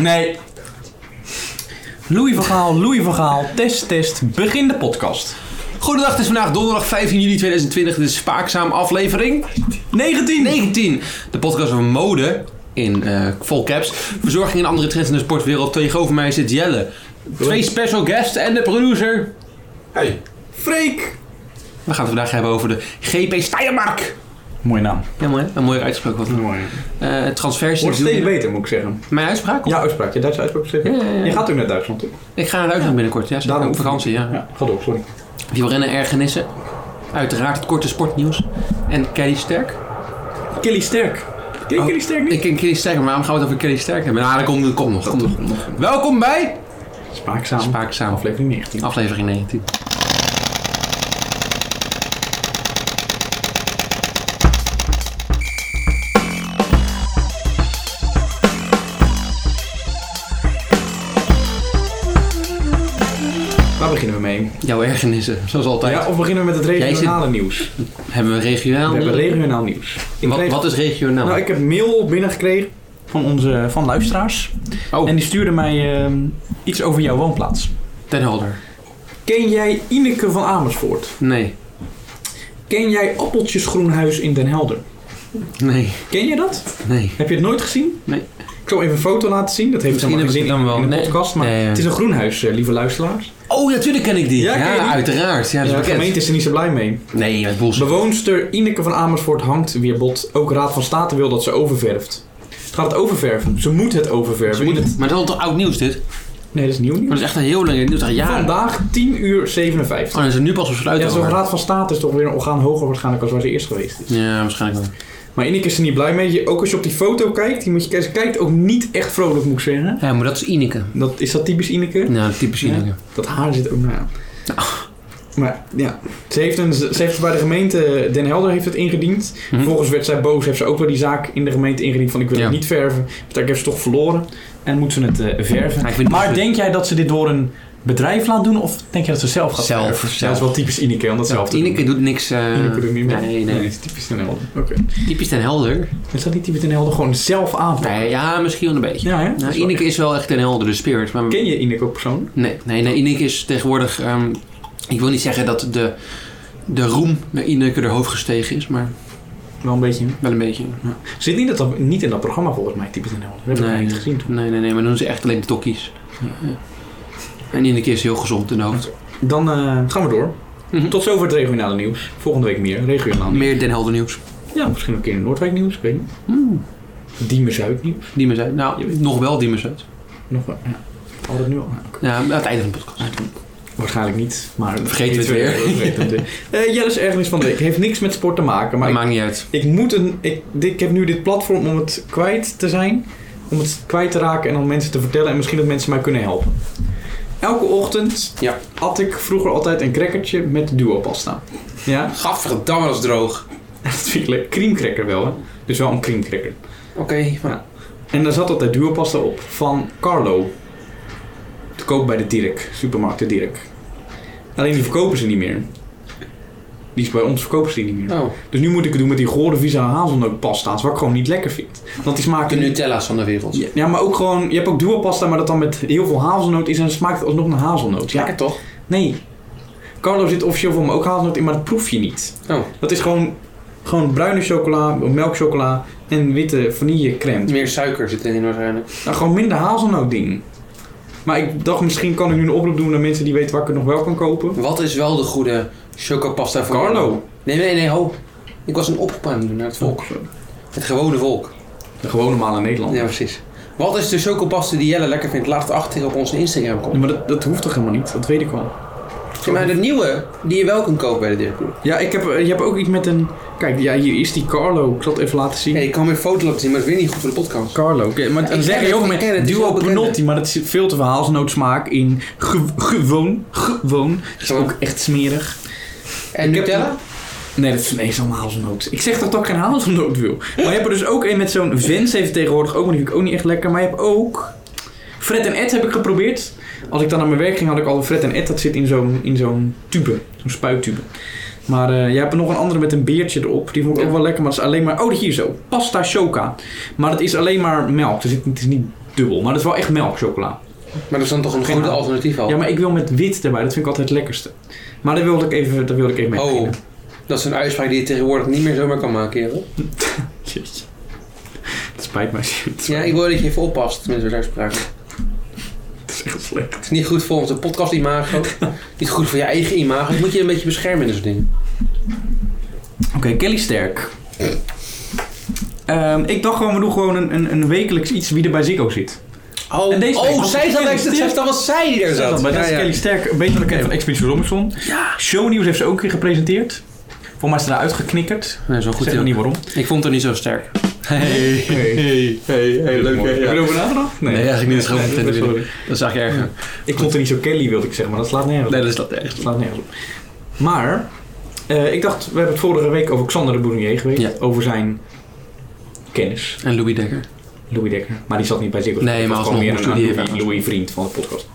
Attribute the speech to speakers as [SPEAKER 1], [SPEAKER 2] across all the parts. [SPEAKER 1] Nee. Louis van Gaal, Louis van Gaal, test, test, begin de podcast.
[SPEAKER 2] Goedendag, het is vandaag donderdag 15 juli 2020. Dit is Spaakzaam aflevering
[SPEAKER 1] 19!
[SPEAKER 2] 19. De podcast over mode in eh vol caps. Verzorging en andere trends in de sportwereld. Tegenover mij zit Jelle. Twee special guests en de producer.
[SPEAKER 3] Hey,
[SPEAKER 2] Freek. We gaan het vandaag hebben over de GP Steiermark.
[SPEAKER 1] Mooie naam.
[SPEAKER 2] Ja, mooi, hè? een mooie uitspraak. Wat
[SPEAKER 3] mooi.
[SPEAKER 2] Eh transfers.
[SPEAKER 3] Wordt steeds beter, moet ik zeggen.
[SPEAKER 2] Mijn uitspraak?
[SPEAKER 3] Ja, uitspraak. Je Duitse uitspraak
[SPEAKER 2] Ja,
[SPEAKER 3] zeggen.
[SPEAKER 2] ja, ja.
[SPEAKER 3] Je gaat ook naar Duitsland toe.
[SPEAKER 2] Ik ga naar Duitsland binnenkort. Ja,
[SPEAKER 3] Daarom
[SPEAKER 2] Daarom op vakantie, ja.
[SPEAKER 3] Ja, ga door, sorry.
[SPEAKER 2] Wielrennen ergernissen. Uiteraard het korte sportnieuws. En Kelly Sterk.
[SPEAKER 3] Kelly Sterk. Ken je Kelly Sterk niet?
[SPEAKER 2] Ik ken Kelly Sterk, maar waarom gaan we het over Kelly Sterk hebben? Nou, dat komt, dat komt nog. dat komt nog. Welkom bij
[SPEAKER 3] Spaakzaam.
[SPEAKER 2] Spaakzaam,
[SPEAKER 3] Aflevering 19.
[SPEAKER 2] aflevering 19.
[SPEAKER 3] Waar beginnen we mee?
[SPEAKER 2] Jouw ergernissen, zoals altijd.
[SPEAKER 3] Ja, of beginnen we met het regionale nieuws? We
[SPEAKER 2] Hebben we regionaal?
[SPEAKER 3] hebben regionaal nieuws. Ik
[SPEAKER 2] wat,
[SPEAKER 3] kreeg-
[SPEAKER 2] wat is regionaal?
[SPEAKER 3] Nou, ik heb mail binnengekregen.
[SPEAKER 1] Van onze van luisteraars.
[SPEAKER 2] Oh,
[SPEAKER 1] En die stuurde mij ehm, iets over jouw woonplaats.
[SPEAKER 2] Den Helder.
[SPEAKER 3] Ken jij Ineke van Amersfoort?
[SPEAKER 2] Nee,
[SPEAKER 3] Ken jij Appeltjesgroenhuis in Den Helder?
[SPEAKER 2] nee,
[SPEAKER 3] Ken je dat?
[SPEAKER 2] nee.
[SPEAKER 3] Heb je het nooit gezien?
[SPEAKER 2] Nee.
[SPEAKER 3] Ik zal even een foto laten zien. Dat heeft
[SPEAKER 2] Misschien
[SPEAKER 3] helemaal geen zin
[SPEAKER 2] heb ik het dan
[SPEAKER 3] in, in de
[SPEAKER 2] wel. Nee.
[SPEAKER 3] podcast. Maar
[SPEAKER 2] Nee, ja.
[SPEAKER 3] het is een groenhuis, eh, lieve luisteraars.
[SPEAKER 2] Oh, natuurlijk ken ik die.
[SPEAKER 3] Ja, ken je die?
[SPEAKER 2] uiteraard. Ja, dat is
[SPEAKER 3] de
[SPEAKER 2] bekend.
[SPEAKER 3] gemeente is er niet zo blij mee.
[SPEAKER 2] Nee, dat is bullshit.
[SPEAKER 3] Bewoonster Ineke van Amersfoort hangt weer bot. Ook Raad van State wil dat ze oververft. Ze gaat het oververven. Ze moet het oververven.
[SPEAKER 2] Ze moeten- Maar dat is toch oud nieuws dit?
[SPEAKER 3] Nee, dat is nieuw
[SPEAKER 2] Maar
[SPEAKER 3] nieuws.
[SPEAKER 2] dat is echt een heel lang nieuws. Echt jaren.
[SPEAKER 3] Vandaag 10 uur 57.
[SPEAKER 2] Oh, dan is er nu pas besluit
[SPEAKER 3] ja, zo'n
[SPEAKER 2] over.
[SPEAKER 3] Raad van State is toch weer een orgaan hoger waarschijnlijk als waar ze eerst geweest is.
[SPEAKER 2] Ja, waarschijnlijk wel.
[SPEAKER 3] Maar Ineke is er niet blij mee. Je- Ook als je op die foto kijkt, die moet je, ze kijkt ook niet echt vrolijk, moet ik zeggen.
[SPEAKER 2] Ja, maar dat is Ineke.
[SPEAKER 3] Dat, is dat typisch Ineke?
[SPEAKER 2] Nou, typisch
[SPEAKER 3] Ja.
[SPEAKER 2] Ineke.
[SPEAKER 3] Dat haar zit ook na. Maar ja, ze heeft, een, ze heeft bij de gemeente Den Helder heeft het ingediend.
[SPEAKER 2] Mhm.
[SPEAKER 3] Vervolgens werd zij boos, heeft ze ook wel die zaak in de gemeente ingediend van ik wil
[SPEAKER 2] Ja.
[SPEAKER 3] het niet verven. Uiteindelijk heeft ze toch verloren en moet ze het eh, verven.
[SPEAKER 2] Ja, ik vind
[SPEAKER 1] Maar denk jij dat ze dit door een bedrijf laat doen of denk jij dat ze zelf gaat
[SPEAKER 2] zelf.
[SPEAKER 1] verven?
[SPEAKER 2] zelf.
[SPEAKER 3] Ja, dat is wel typisch Ineke om dat zelf te doen.
[SPEAKER 2] Ineke doet niks. eh,
[SPEAKER 3] Ineke doet niet meer.
[SPEAKER 2] Nee, nee.
[SPEAKER 3] dat is typisch Den Helder. Oké.
[SPEAKER 2] Typisch Den Helder.
[SPEAKER 3] Is dat niet typisch Den Helder gewoon zelf aanpakken?
[SPEAKER 2] Nee, ja, misschien wel een beetje.
[SPEAKER 3] Ja, hè? Dat
[SPEAKER 2] Nou,
[SPEAKER 3] is wel
[SPEAKER 2] Ineke is wel echt Den Helder, de spirit. Maar
[SPEAKER 3] echt- Ken je Ineke ook persoonlijk?
[SPEAKER 2] Nee, nee, nee. Ineke is tegenwoordig. ehm, ik wil niet zeggen dat de, de roem naar Ineke de hoofd gestegen is, maar
[SPEAKER 3] Wel een beetje.
[SPEAKER 2] wel een beetje.
[SPEAKER 3] Zit niet, dat, dat- niet in dat programma volgens mij, typisch Den Helder. Dat heb ik nog
[SPEAKER 2] nee,
[SPEAKER 3] niet gezien toen.
[SPEAKER 2] nee, nee, nee, maar dan doen ze echt alleen de tokkies. Ja. En Ineke is heel gezond in de hoofd.
[SPEAKER 3] Dan eh, gaan we door.
[SPEAKER 2] Mhm.
[SPEAKER 3] Tot zover het regionale nieuws. Volgende week meer. Regionaal nieuws.
[SPEAKER 2] Meer Den Helder nieuws.
[SPEAKER 3] Ja, misschien ook een keer in Noordwijk nieuws. Ik weet niet.
[SPEAKER 2] Mm,
[SPEAKER 3] Diemen Zuid nieuws.
[SPEAKER 2] Diemen uit. Nou, nog wel Diemen uit.
[SPEAKER 3] Nog wel. Ja. Al dat nu al. Ja, oké.
[SPEAKER 2] Ja, aan het einde van de podcast.
[SPEAKER 3] Waarschijnlijk niet, maar...
[SPEAKER 2] Vergeten we het weer.
[SPEAKER 3] Vergeten we het weer. Eh, Jelle's ergernis van de week. Heeft niks met sport te maken, maar
[SPEAKER 2] Maar
[SPEAKER 3] ik,
[SPEAKER 2] maakt niet uit.
[SPEAKER 3] ik moet een... Ik, dit- ik heb nu dit platform om het kwijt te zijn. Om het kwijt te raken en om mensen te vertellen. En misschien dat mensen mij kunnen helpen. Elke ochtend
[SPEAKER 2] Ja.
[SPEAKER 3] at ik vroeger altijd een crackertje met duopasta. Ja,
[SPEAKER 2] Gadverdamme, dat is droog.
[SPEAKER 3] dat vind ik leuk. Creamcracker wel, hè. Dus wel een creamcracker.
[SPEAKER 2] Oké.
[SPEAKER 3] maar- En daar zat altijd duopasta op van Carlo. Te koop bij de Dirk, supermarkt de Dirk. Alleen die verkopen ze niet meer. Die is bij ons verkopen ze die niet meer.
[SPEAKER 2] Oh,
[SPEAKER 3] Dus nu moet ik het doen met die gore visa hazelnootpasta's, wat ik gewoon niet lekker vind. Want die
[SPEAKER 2] de
[SPEAKER 3] smaken...
[SPEAKER 2] Nutella's van de wereld.
[SPEAKER 3] Ja, Ja, maar ook gewoon... Je hebt ook duopasta, maar dat dan met heel veel hazelnoot is en dan smaakt het alsnog naar hazelnoot. Ja,
[SPEAKER 2] toch?
[SPEAKER 3] nee. Carlo zit officieel voor me ook hazelnoot in, maar dat proef je niet.
[SPEAKER 2] Oh,
[SPEAKER 3] Dat is gewoon, gewoon bruine chocola, melkchocola en witte vanillecrème.
[SPEAKER 2] meer suiker zit erin waarschijnlijk.
[SPEAKER 3] Nou, gewoon minder hazelnoot ding. Maar ik dacht, misschien kan ik nu een oproep doen naar mensen die weten waar ik het nog wel kan kopen.
[SPEAKER 2] Wat is wel de goede chocopasta voor
[SPEAKER 3] Carlo.
[SPEAKER 2] Nee, nee, nee, ho. Ik was een oproep aan het doen naar het volk.
[SPEAKER 3] Oh.
[SPEAKER 2] Het gewone volk.
[SPEAKER 3] De gewone maal in Nederland.
[SPEAKER 2] Ja, precies. Wat is de chocopasta die Jelle lekker vindt? Laat het achter op onze Instagram
[SPEAKER 3] Ja,
[SPEAKER 2] komen.
[SPEAKER 3] maar dat, dat hoeft toch helemaal niet? Dat weet ik wel.
[SPEAKER 2] Ja, maar de nieuwe, die je wel kunt kopen bij de Dirkboer.
[SPEAKER 3] Ja, ik heb, eh, je hebt ook iets met een... Kijk, ja, hier is die Carlo. Ik zal het even laten zien.
[SPEAKER 2] Ja, ik kan weer een foto laten zien, maar dat is weer niet goed voor de podcast.
[SPEAKER 3] Carlo. Oké, maar
[SPEAKER 2] Ja, ik ken het, ik ken het, het is wel
[SPEAKER 3] duo
[SPEAKER 2] bekend.
[SPEAKER 3] penotti, maar dat is veel te veel hazelnootsmaak in ge- gewoon, gewoon. Dat is
[SPEAKER 2] Gewoon.
[SPEAKER 3] ook echt smerig.
[SPEAKER 2] En
[SPEAKER 3] Ik heb-
[SPEAKER 2] Nutella?
[SPEAKER 3] Nee, dat is, nee, dat is allemaal hazelnoot. Ik zeg toch dat ik geen hazelnoot wil. Maar je hebt er dus ook een met zo'n Vens heeft tegenwoordig ook, maar die vind ik ook niet echt lekker. Maar je hebt ook... Fred en Ed heb ik geprobeerd. Als ik dan naar mijn werk ging, had ik al een Fred en Ed. Dat zit in zo'n, in zo'n tube. Zo'n spuittube. Maar eh, jij hebt nog een andere met een beertje erop. Die vond ik
[SPEAKER 2] Ja.
[SPEAKER 3] ook wel lekker, maar dat is alleen maar... Oh, hier zo. Pasta choca. Maar het is alleen maar melk. Dus het, het is niet dubbel, maar dat is wel echt melkchocola.
[SPEAKER 2] Maar dat is dan toch een
[SPEAKER 3] Geen
[SPEAKER 2] goed
[SPEAKER 3] naam.
[SPEAKER 2] alternatief al?
[SPEAKER 3] Ja, maar ik wil met wit erbij, dat vind ik altijd het lekkerste. Maar daar wilde ik even, daar wilde ik even mee
[SPEAKER 2] oh,
[SPEAKER 3] beginnen.
[SPEAKER 2] dat is een uitspraak die je tegenwoordig niet meer zomaar kan maken, kerel.
[SPEAKER 3] Jeetje. Het spijt me, shit.
[SPEAKER 2] Ja, ik wil dat je even oppast met zo'n uitspraak. Het
[SPEAKER 3] Het is echt slecht.
[SPEAKER 2] is niet goed voor onze podcast-imago. niet goed voor je eigen imago. Dat moet je een beetje beschermen in dit soort dingen.
[SPEAKER 3] Oké, Kelly Sterk. Ehm, ik dacht gewoon, we doen gewoon een, een, een wekelijks iets wie er bij Ziggo zit.
[SPEAKER 2] Oh,
[SPEAKER 3] En deze week-
[SPEAKER 2] zij zat extra. Dat was zij die er
[SPEAKER 3] Dat,
[SPEAKER 2] zat.
[SPEAKER 3] dat
[SPEAKER 2] Ja,
[SPEAKER 3] is
[SPEAKER 2] ja.
[SPEAKER 3] Kelly Sterk, een beetje bekend van Expeditie Robinson. Ja. Shownieuws heeft ze ook een keer gepresenteerd. Voor mij is ze eruit geknikkerd.
[SPEAKER 2] Nee, zo
[SPEAKER 3] Goed,
[SPEAKER 2] goed.
[SPEAKER 3] zeg nog
[SPEAKER 2] joh.
[SPEAKER 3] niet waarom.
[SPEAKER 2] Ik vond het niet zo sterk. Hey, hey, hey, hey, leuk. hè,
[SPEAKER 3] Heb je
[SPEAKER 2] ja.
[SPEAKER 3] erover nagedacht?
[SPEAKER 2] Nee, eigenlijk niet. Dat is gewoon
[SPEAKER 3] Nee,
[SPEAKER 2] een
[SPEAKER 3] sorry.
[SPEAKER 2] Dat is eigenlijk erger.
[SPEAKER 3] Ik vond het niet zo Kelly, wilde ik zeggen, maar dat slaat nergens op.
[SPEAKER 2] Nee, dat is dat erg.
[SPEAKER 3] Het slaat nergens op. Maar, eh, ik dacht, we hebben het vorige week over Xander de Bournier geweest.
[SPEAKER 2] Ja.
[SPEAKER 3] Over zijn kennis,
[SPEAKER 2] En Louis Dekker.
[SPEAKER 3] Louis Dekker. Maar die zat niet bij Ziggo.
[SPEAKER 2] Nee,
[SPEAKER 3] Dat
[SPEAKER 2] maar
[SPEAKER 3] was
[SPEAKER 2] alsnog
[SPEAKER 3] gewoon
[SPEAKER 2] moest
[SPEAKER 3] meer
[SPEAKER 2] hij
[SPEAKER 3] een
[SPEAKER 2] die
[SPEAKER 3] Louis,
[SPEAKER 2] even-
[SPEAKER 3] Louis vriend van de podcast.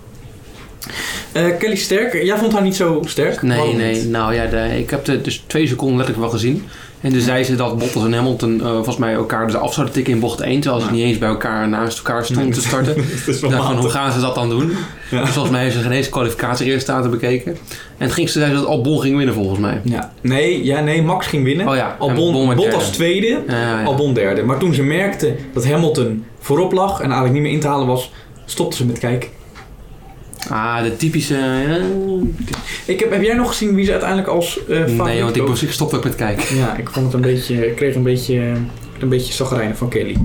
[SPEAKER 3] Eh, Kelly Sterk, jij vond haar niet zo sterk?
[SPEAKER 2] Nee,
[SPEAKER 3] Waarom
[SPEAKER 2] nee.
[SPEAKER 3] niet?
[SPEAKER 2] Nou ja, de- ik heb de, dus twee seconden letterlijk wel gezien. En toen zei ze dat Bottas en Hamilton eh, volgens mij elkaar dus af zouden tikken in bocht 1. Terwijl ze
[SPEAKER 3] Ja.
[SPEAKER 2] niet eens bij elkaar naast elkaar stonden
[SPEAKER 3] Nee.
[SPEAKER 2] te starten.
[SPEAKER 3] Het is wel
[SPEAKER 2] Ik dacht van,
[SPEAKER 3] matig.
[SPEAKER 2] hoe gaan ze dat dan doen?
[SPEAKER 3] Ja.
[SPEAKER 2] Dus volgens mij heeft ze geen eens kwalificatieresultaten bekeken. En toen ging ze zei ze dat Albon ging winnen volgens mij.
[SPEAKER 3] Ja. Nee, ja, nee, Max ging winnen.
[SPEAKER 2] Oh ja, en Albon
[SPEAKER 3] Albon,
[SPEAKER 2] werd
[SPEAKER 3] Bottas
[SPEAKER 2] derde.
[SPEAKER 3] tweede,
[SPEAKER 2] Ja, ja, ja.
[SPEAKER 3] Albon derde. Maar toen ze merkte dat Hamilton voorop lag en eigenlijk niet meer in te halen was, stopte ze met kijken.
[SPEAKER 2] Ah, de typische... eh,
[SPEAKER 3] Ik heb, heb jij nog gezien wie ze uiteindelijk als eh favoriet
[SPEAKER 2] nee, want ik,
[SPEAKER 3] koos?
[SPEAKER 2] was- ik stopte ook met kijken.
[SPEAKER 3] Ja, ik vond het een beetje, ik kreeg een beetje, een beetje zagrijnen van Kelly.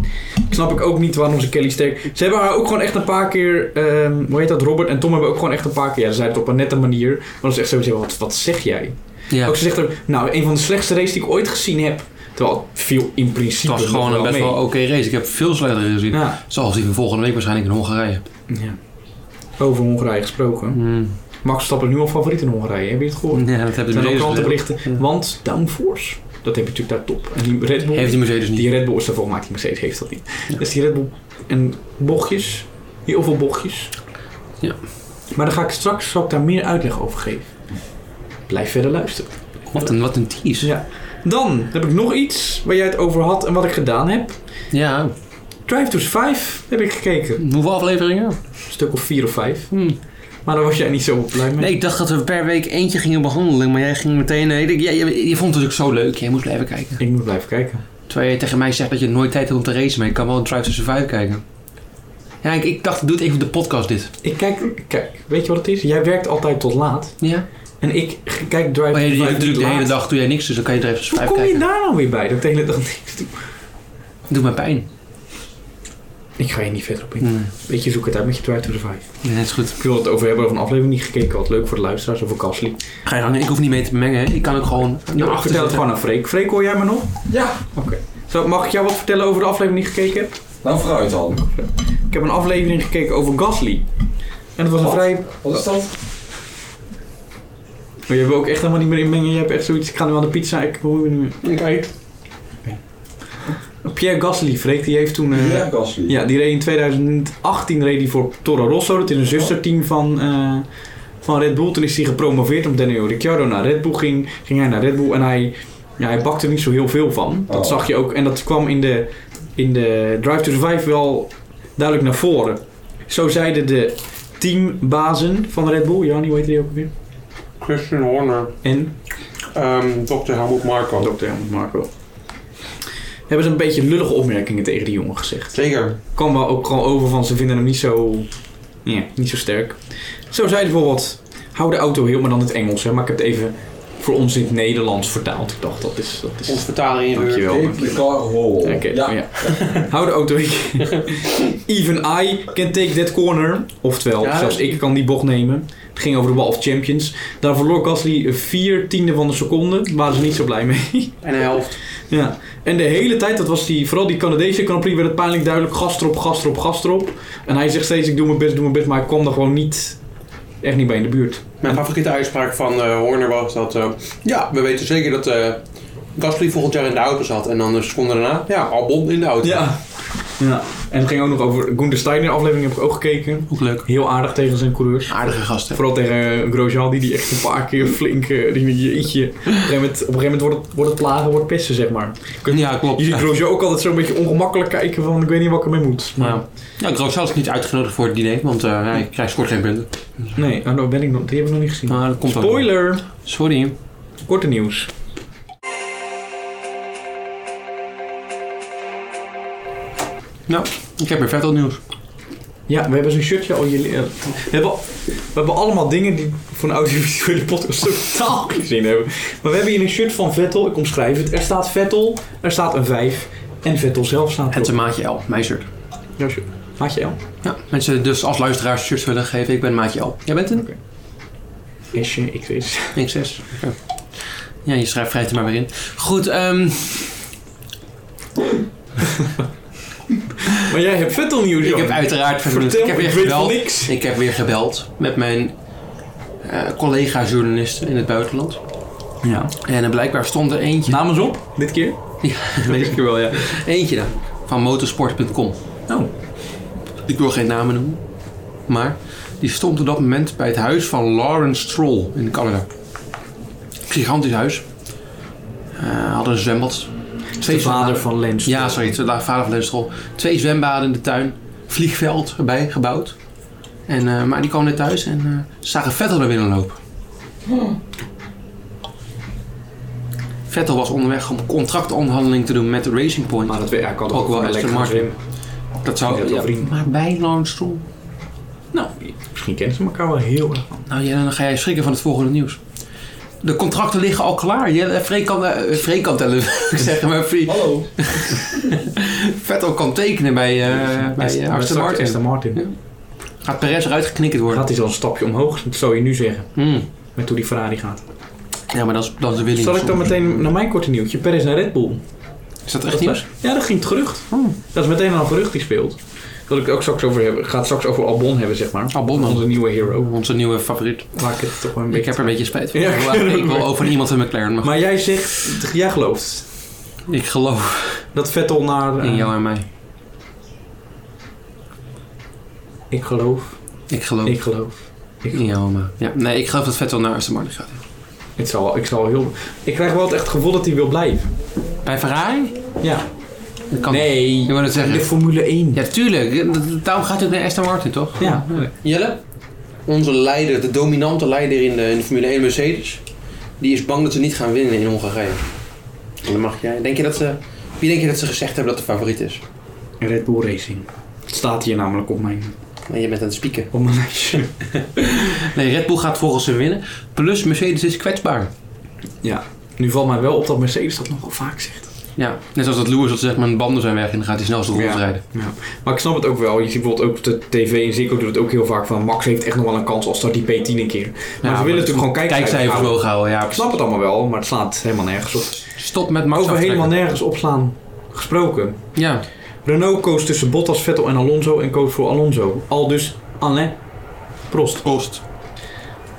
[SPEAKER 3] Ik snap ik ook niet waarom ze Kelly sterk... Ze hebben haar ook gewoon echt een paar keer, ehm, hoe heet dat, Robert en Tom hebben ook gewoon echt een paar keer... Ja, ze zeiden het op een nette manier, maar dat is echt sowieso, wat, wat zeg jij?
[SPEAKER 2] Ja,
[SPEAKER 3] Ook
[SPEAKER 2] het
[SPEAKER 3] ze zegt ook, nou, een van de slechtste races die ik ooit gezien heb. Terwijl het viel in principe
[SPEAKER 2] was
[SPEAKER 3] nog
[SPEAKER 2] gewoon een
[SPEAKER 3] wel
[SPEAKER 2] best
[SPEAKER 3] mee.
[SPEAKER 2] wel oké race. Ik heb veel slechtere gezien.
[SPEAKER 3] Ja.
[SPEAKER 2] Zoals die van volgende week waarschijnlijk in Hongarije.
[SPEAKER 3] ja. Over Hongarije gesproken.
[SPEAKER 2] Hmm.
[SPEAKER 3] Max Stappen nu al favoriet in Hongarije, heb je het gehoord?
[SPEAKER 2] Ja, dat
[SPEAKER 3] Er
[SPEAKER 2] hebben de
[SPEAKER 3] zijn ook
[SPEAKER 2] Mercedes gezegd.
[SPEAKER 3] krantenberichten, want downforce, dat heb je natuurlijk daar top. En die Red Bull...
[SPEAKER 2] Heeft die Mercedes niet.
[SPEAKER 3] Die Red Bull is daarvoor gemaakt, die Mercedes heeft dat niet. Dus die Red Bull en bochtjes, heel veel bochtjes.
[SPEAKER 2] Ja.
[SPEAKER 3] Maar daar ga ik straks zal ik daar meer uitleg over geven. Blijf verder luisteren.
[SPEAKER 2] Wat een, wat een tease.
[SPEAKER 3] Ja. Dan heb ik nog iets waar jij het over had en wat ik gedaan heb.
[SPEAKER 2] Ja,
[SPEAKER 3] Drive to Survive heb ik gekeken.
[SPEAKER 2] hoeveel afleveringen?
[SPEAKER 3] Een stuk of vier of vijf.
[SPEAKER 2] Hmm.
[SPEAKER 3] Maar daar was jij niet zo blij mee.
[SPEAKER 2] Nee, ik dacht dat we per week eentje gingen behandelen, maar jij ging meteen... Nee, ik- jij- jij- je, vond het ook zo leuk, jij moest blijven kijken.
[SPEAKER 3] Ik moet blijven kijken.
[SPEAKER 2] Terwijl je tegen mij zegt dat je nooit tijd hebt om te racen, maar ik kan wel Drive to Survive kijken. Ja, ik, ik dacht, doe het even op de podcast dit.
[SPEAKER 3] Ik kijk, kijk, weet je wat het is? Jij werkt altijd tot laat.
[SPEAKER 2] Ja?
[SPEAKER 3] En ik g- kijk Drive
[SPEAKER 2] Maar je,
[SPEAKER 3] to
[SPEAKER 2] je,
[SPEAKER 3] Survive
[SPEAKER 2] doet
[SPEAKER 3] niet
[SPEAKER 2] natuurlijk de hele
[SPEAKER 3] laat.
[SPEAKER 2] dag doe jij niks, dus dan kan je nou- Drive to
[SPEAKER 3] Hoe
[SPEAKER 2] Survive
[SPEAKER 3] kom je
[SPEAKER 2] kijken.
[SPEAKER 3] daar nou weer bij? Dat ik de hele dag niks doe.
[SPEAKER 2] Doet mij pijn.
[SPEAKER 3] Ik ga hier niet verder op in.
[SPEAKER 2] Nee,
[SPEAKER 3] Weet je, zoek het uit met je Drive to Survive.
[SPEAKER 2] nee, dat is goed.
[SPEAKER 3] Ik wil het over hebben over een aflevering die ik gekeken had. Leuk voor de luisteraars over Gasly.
[SPEAKER 2] Ga je gang, ik hoef niet mee te mengen, hè. ik kan ook gewoon naar
[SPEAKER 3] Nou,
[SPEAKER 2] achter
[SPEAKER 3] vertel het
[SPEAKER 2] zitten.
[SPEAKER 3] gewoon aan Freek. Freek, hoor jij me nog?
[SPEAKER 4] Ja,
[SPEAKER 3] Oké. Zo, mag ik jou wat vertellen over de aflevering die ik gekeken heb?
[SPEAKER 4] nou vooruit dan.
[SPEAKER 3] Ik heb een aflevering gekeken over Gasly. En dat was een
[SPEAKER 4] Wat?
[SPEAKER 3] vrij...
[SPEAKER 4] Wat is dat?
[SPEAKER 3] Maar je wil ook echt helemaal niet meer inmengen. Je hebt echt zoiets. Ik ga nu aan de pizza. Ik hoor je niet meer.
[SPEAKER 4] Ik eet.
[SPEAKER 3] Pierre Gasly, Freek, die heeft toen... eh,
[SPEAKER 4] Ja, Gasly.
[SPEAKER 3] Ja, die reed in 2018 reed hij voor Toro Rosso. Dat is een zusterteam van, eh, van Red Bull. Toen is hij gepromoveerd omdat Daniel Ricciardo naar Red Bull ging. Ging hij naar Red Bull en hij, ja, hij bakte er niet zo heel veel van. Dat
[SPEAKER 4] Oh.
[SPEAKER 3] zag je ook. En dat kwam in de, in de Drive to Survive wel duidelijk naar voren. Zo zeiden de teambazen van Red Bull. Jannie, hoe heet die ook weer?
[SPEAKER 5] Christian Horner,
[SPEAKER 3] En
[SPEAKER 5] ehm Dr. Helmut Marko.
[SPEAKER 3] Dr. Helmut Marco. Hebben ze een beetje lullige opmerkingen tegen die jongen gezegd.
[SPEAKER 5] Zeker.
[SPEAKER 3] kwam wel ook gewoon over van ze vinden hem niet zo, ja, niet zo sterk. Zo zei hij bijvoorbeeld, hou de auto heel, maar dan in het Engels. Hè, maar ik heb het even voor ons in het Nederlands vertaald. Ik dacht, dat is... Dat
[SPEAKER 5] Ons
[SPEAKER 3] is
[SPEAKER 5] vertaler in je
[SPEAKER 3] dankjewel.
[SPEAKER 4] Take the car hole.
[SPEAKER 3] Oké,
[SPEAKER 4] ja.
[SPEAKER 3] ja. Hou de auto heel. Even I can take that corner. Oftewel,
[SPEAKER 2] Ja.
[SPEAKER 3] zelfs ik kan die bocht nemen. Het ging over de Wall of Champions. Daar verloor Gasly vier tiende van de seconde. Waren ze niet zo blij mee.
[SPEAKER 2] En de helft.
[SPEAKER 3] Ja, en de hele tijd, dat was die, vooral die Canadese Grand Prix, werd het pijnlijk duidelijk gas erop, gas erop, gas erop. En hij zegt steeds, ik doe mijn best, doe mijn best, maar ik kwam er gewoon niet, echt niet bij in de buurt.
[SPEAKER 5] Mijn favoriete uitspraak van eh, Horner was dat... eh, ja, we weten zeker dat eh Gasly volgend jaar in de auto zat. En dan de seconde daarna, ja, Albon in de auto.
[SPEAKER 3] Ja, Ja. En het ging ook nog over Gunther Steiner aflevering heb ik ook gekeken.
[SPEAKER 2] Ook leuk.
[SPEAKER 3] Heel aardig tegen zijn coureurs.
[SPEAKER 2] Aardige gasten.
[SPEAKER 3] Vooral tegen eh, Grosjean, die die echt een paar keer flink... eh, die, die, jeetje. Op een gegeven moment, op een gegeven moment wordt, het, wordt het plagen, wordt het pesten, zeg maar.
[SPEAKER 2] Ja, klopt.
[SPEAKER 3] Je ziet Grosjean ook altijd zo'n beetje ongemakkelijk kijken van... ik weet niet wat ik ermee moet. Maar ja.
[SPEAKER 2] Ja, Grosjean is niet uitgenodigd voor het diner, want eh, hij krijgt scoort geen punten.
[SPEAKER 3] Nee, nou, dat ben ik nog, die heb ik nog niet gezien.
[SPEAKER 2] Maar dat komt ook wel.
[SPEAKER 3] Spoiler!
[SPEAKER 2] Sorry.
[SPEAKER 3] Korte nieuws.
[SPEAKER 2] Nou, ik heb weer Vettel nieuws.
[SPEAKER 3] Ja, we hebben zo'n shirtje al jullie... eh, we, hebben, we hebben allemaal dingen die voor een audiovisuele podcast totaal geen zin hebben. Maar we hebben hier een shirt van Vettel. Ik omschrijf het. Er staat Vettel, er staat een 5 en Vettel zelf
[SPEAKER 2] Het
[SPEAKER 3] staat
[SPEAKER 2] is
[SPEAKER 3] erop.
[SPEAKER 2] een maatje L, mijn shirt.
[SPEAKER 3] Jouw shirt. Had je al?
[SPEAKER 2] Ja, mensen dus als luisteraars shirts willen geven, ik ben maatje L. Jij bent een?
[SPEAKER 3] Sje, XS.
[SPEAKER 2] XS. Ja. ja, je schrijft vrijheid er maar weer in. Goed, ehm
[SPEAKER 3] Maar jij hebt Vettel nieuws,
[SPEAKER 2] ik
[SPEAKER 3] Jan.
[SPEAKER 2] heb uiteraard...
[SPEAKER 3] Vertel,
[SPEAKER 2] ik heb weer
[SPEAKER 3] ik weet van
[SPEAKER 2] gebeld.
[SPEAKER 3] niks.
[SPEAKER 2] Ik heb weer gebeld met mijn eh, collega-journalisten in het buitenland.
[SPEAKER 3] Ja.
[SPEAKER 2] En eh, blijkbaar stond er eentje...
[SPEAKER 3] Namens op, dit keer.
[SPEAKER 2] Oh. Weet ik
[SPEAKER 3] keer wel, ja.
[SPEAKER 2] Eentje dan. Van motorsport.com.
[SPEAKER 3] Oh.
[SPEAKER 2] Ik wil geen namen noemen. Maar die stond op dat moment bij het huis van Lawrence Stroll in Canada. Gigantisch huis. Eh hadden een zwembad.
[SPEAKER 3] De vader van Lens.
[SPEAKER 2] Ja, sorry. De la- vader van Lawrence Stroll. Twee zwembaden in de tuin. Vliegveld erbij gebouwd. En, eh, maar die kwamen net thuis en eh, zagen Vettel er binnen lopen. Vettel was onderweg om contractonderhandeling te doen met Racing Point.
[SPEAKER 3] Maar dat weet- hij kan
[SPEAKER 2] Ook
[SPEAKER 3] toch
[SPEAKER 2] wel
[SPEAKER 3] wel
[SPEAKER 2] extra
[SPEAKER 3] lekker gaan
[SPEAKER 2] marketing.
[SPEAKER 3] zwemmen.
[SPEAKER 2] Dat
[SPEAKER 3] Ik
[SPEAKER 2] zou
[SPEAKER 3] heb wel vrienden.
[SPEAKER 2] Maar bij Lawrence Stroll.
[SPEAKER 3] Nou, misschien kennen ze elkaar wel heel erg.
[SPEAKER 2] Nou ja, dan ga jij schrikken van het volgende nieuws. De contracten liggen al klaar. Jelle- Freek kan, eh, Freek kan tellen, wil ik zeggen, maar Freek
[SPEAKER 4] Hallo.
[SPEAKER 2] Vettel kan tekenen bij, eh bij eh, Aston Martin.
[SPEAKER 3] Aston Martin.
[SPEAKER 2] Ja. Gaat Perez eruit geknikkerd worden?
[SPEAKER 3] Gaat hij al een stapje omhoog, dat zou je nu zeggen.
[SPEAKER 2] Hmm.
[SPEAKER 3] Met hoe die Ferrari gaat.
[SPEAKER 2] Ja, maar dat is, dat is de Williams.
[SPEAKER 3] Zal ik dan meteen naar mijn korte nieuwtje? Perez naar Red Bull.
[SPEAKER 2] Is dat echt nieuws?
[SPEAKER 3] Ja, dat ging het gerucht. Dat is meteen al een gerucht die speelt. Oh. Dat ik het ook straks over hebben. Ik ga het straks over Albon hebben, zeg maar.
[SPEAKER 2] Albon Oh, dan.
[SPEAKER 3] Onze nieuwe hero.
[SPEAKER 2] Onze nieuwe favoriet.
[SPEAKER 3] Waar ik het toch wel Oh. een
[SPEAKER 2] Ik
[SPEAKER 3] beetje...
[SPEAKER 2] heb er een beetje spijt van.
[SPEAKER 3] Ja,
[SPEAKER 2] ik, wil- ik wil over iemand in McLaren. Maar,
[SPEAKER 3] Maar jij zegt, jij gelooft
[SPEAKER 2] ik geloof
[SPEAKER 3] dat Vettel naar... eh,
[SPEAKER 2] in jou en mij.
[SPEAKER 3] Ik geloof,
[SPEAKER 2] Ik geloof
[SPEAKER 3] ik geloof. Ik
[SPEAKER 2] in jou en mij. Ja. Nee, ik geloof dat Vettel naar Aston Martin gaat.
[SPEAKER 3] Het zal, wel- ik zal wel heel... Ik krijg wel het echt gevoel dat hij wil blijven.
[SPEAKER 2] Bij Ferrari?
[SPEAKER 3] Ja.
[SPEAKER 2] Dat kan
[SPEAKER 3] Nee.
[SPEAKER 2] Ik wil het
[SPEAKER 3] De
[SPEAKER 2] zeggen.
[SPEAKER 3] Formule 1.
[SPEAKER 2] Ja, tuurlijk. Daarom gaat hij ook naar Aston Martin, toch?
[SPEAKER 3] Ja.
[SPEAKER 2] Jelle,
[SPEAKER 5] Onze leider, de dominante leider in de, in de Formule 1 Mercedes, die is bang dat ze niet gaan winnen in Hongarije. En dan mag jij. Denk je dat ze, wie denk je dat ze gezegd hebben dat de favoriet is?
[SPEAKER 3] Red Bull Racing. Het staat hier namelijk op mijn,
[SPEAKER 5] Maar je bent aan het spieken.
[SPEAKER 3] op mijn lijstje.
[SPEAKER 2] Nee, Red Bull gaat volgens hem winnen. Plus Mercedes is kwetsbaar.
[SPEAKER 3] Ja. Nu valt mij wel op dat Mercedes dat nogal vaak zegt.
[SPEAKER 2] Ja, net als dat Lewis dat zegt, mijn banden zijn weg en dan gaat hij snel de ronde
[SPEAKER 3] Ja.
[SPEAKER 2] rijden.
[SPEAKER 3] Ja. Maar ik snap het ook wel. Je ziet bijvoorbeeld ook de tv en Zico doet het ook heel vaak van Max heeft echt nog wel een kans als start die P10 een keer. Maar ze
[SPEAKER 2] maar
[SPEAKER 3] willen natuurlijk gewoon kijken.
[SPEAKER 2] Kijkcijfers
[SPEAKER 3] houden.
[SPEAKER 2] hoog houden, ja.
[SPEAKER 3] Ik snap het allemaal wel, maar het slaat helemaal nergens op.
[SPEAKER 2] Stop met Max
[SPEAKER 3] Over helemaal
[SPEAKER 2] aftrekken.
[SPEAKER 3] nergens opslaan gesproken.
[SPEAKER 2] Ja,
[SPEAKER 3] Renault koos tussen Bottas, Vettel en Alonso en koos voor Alonso. Al dus Alain Prost.
[SPEAKER 2] kost.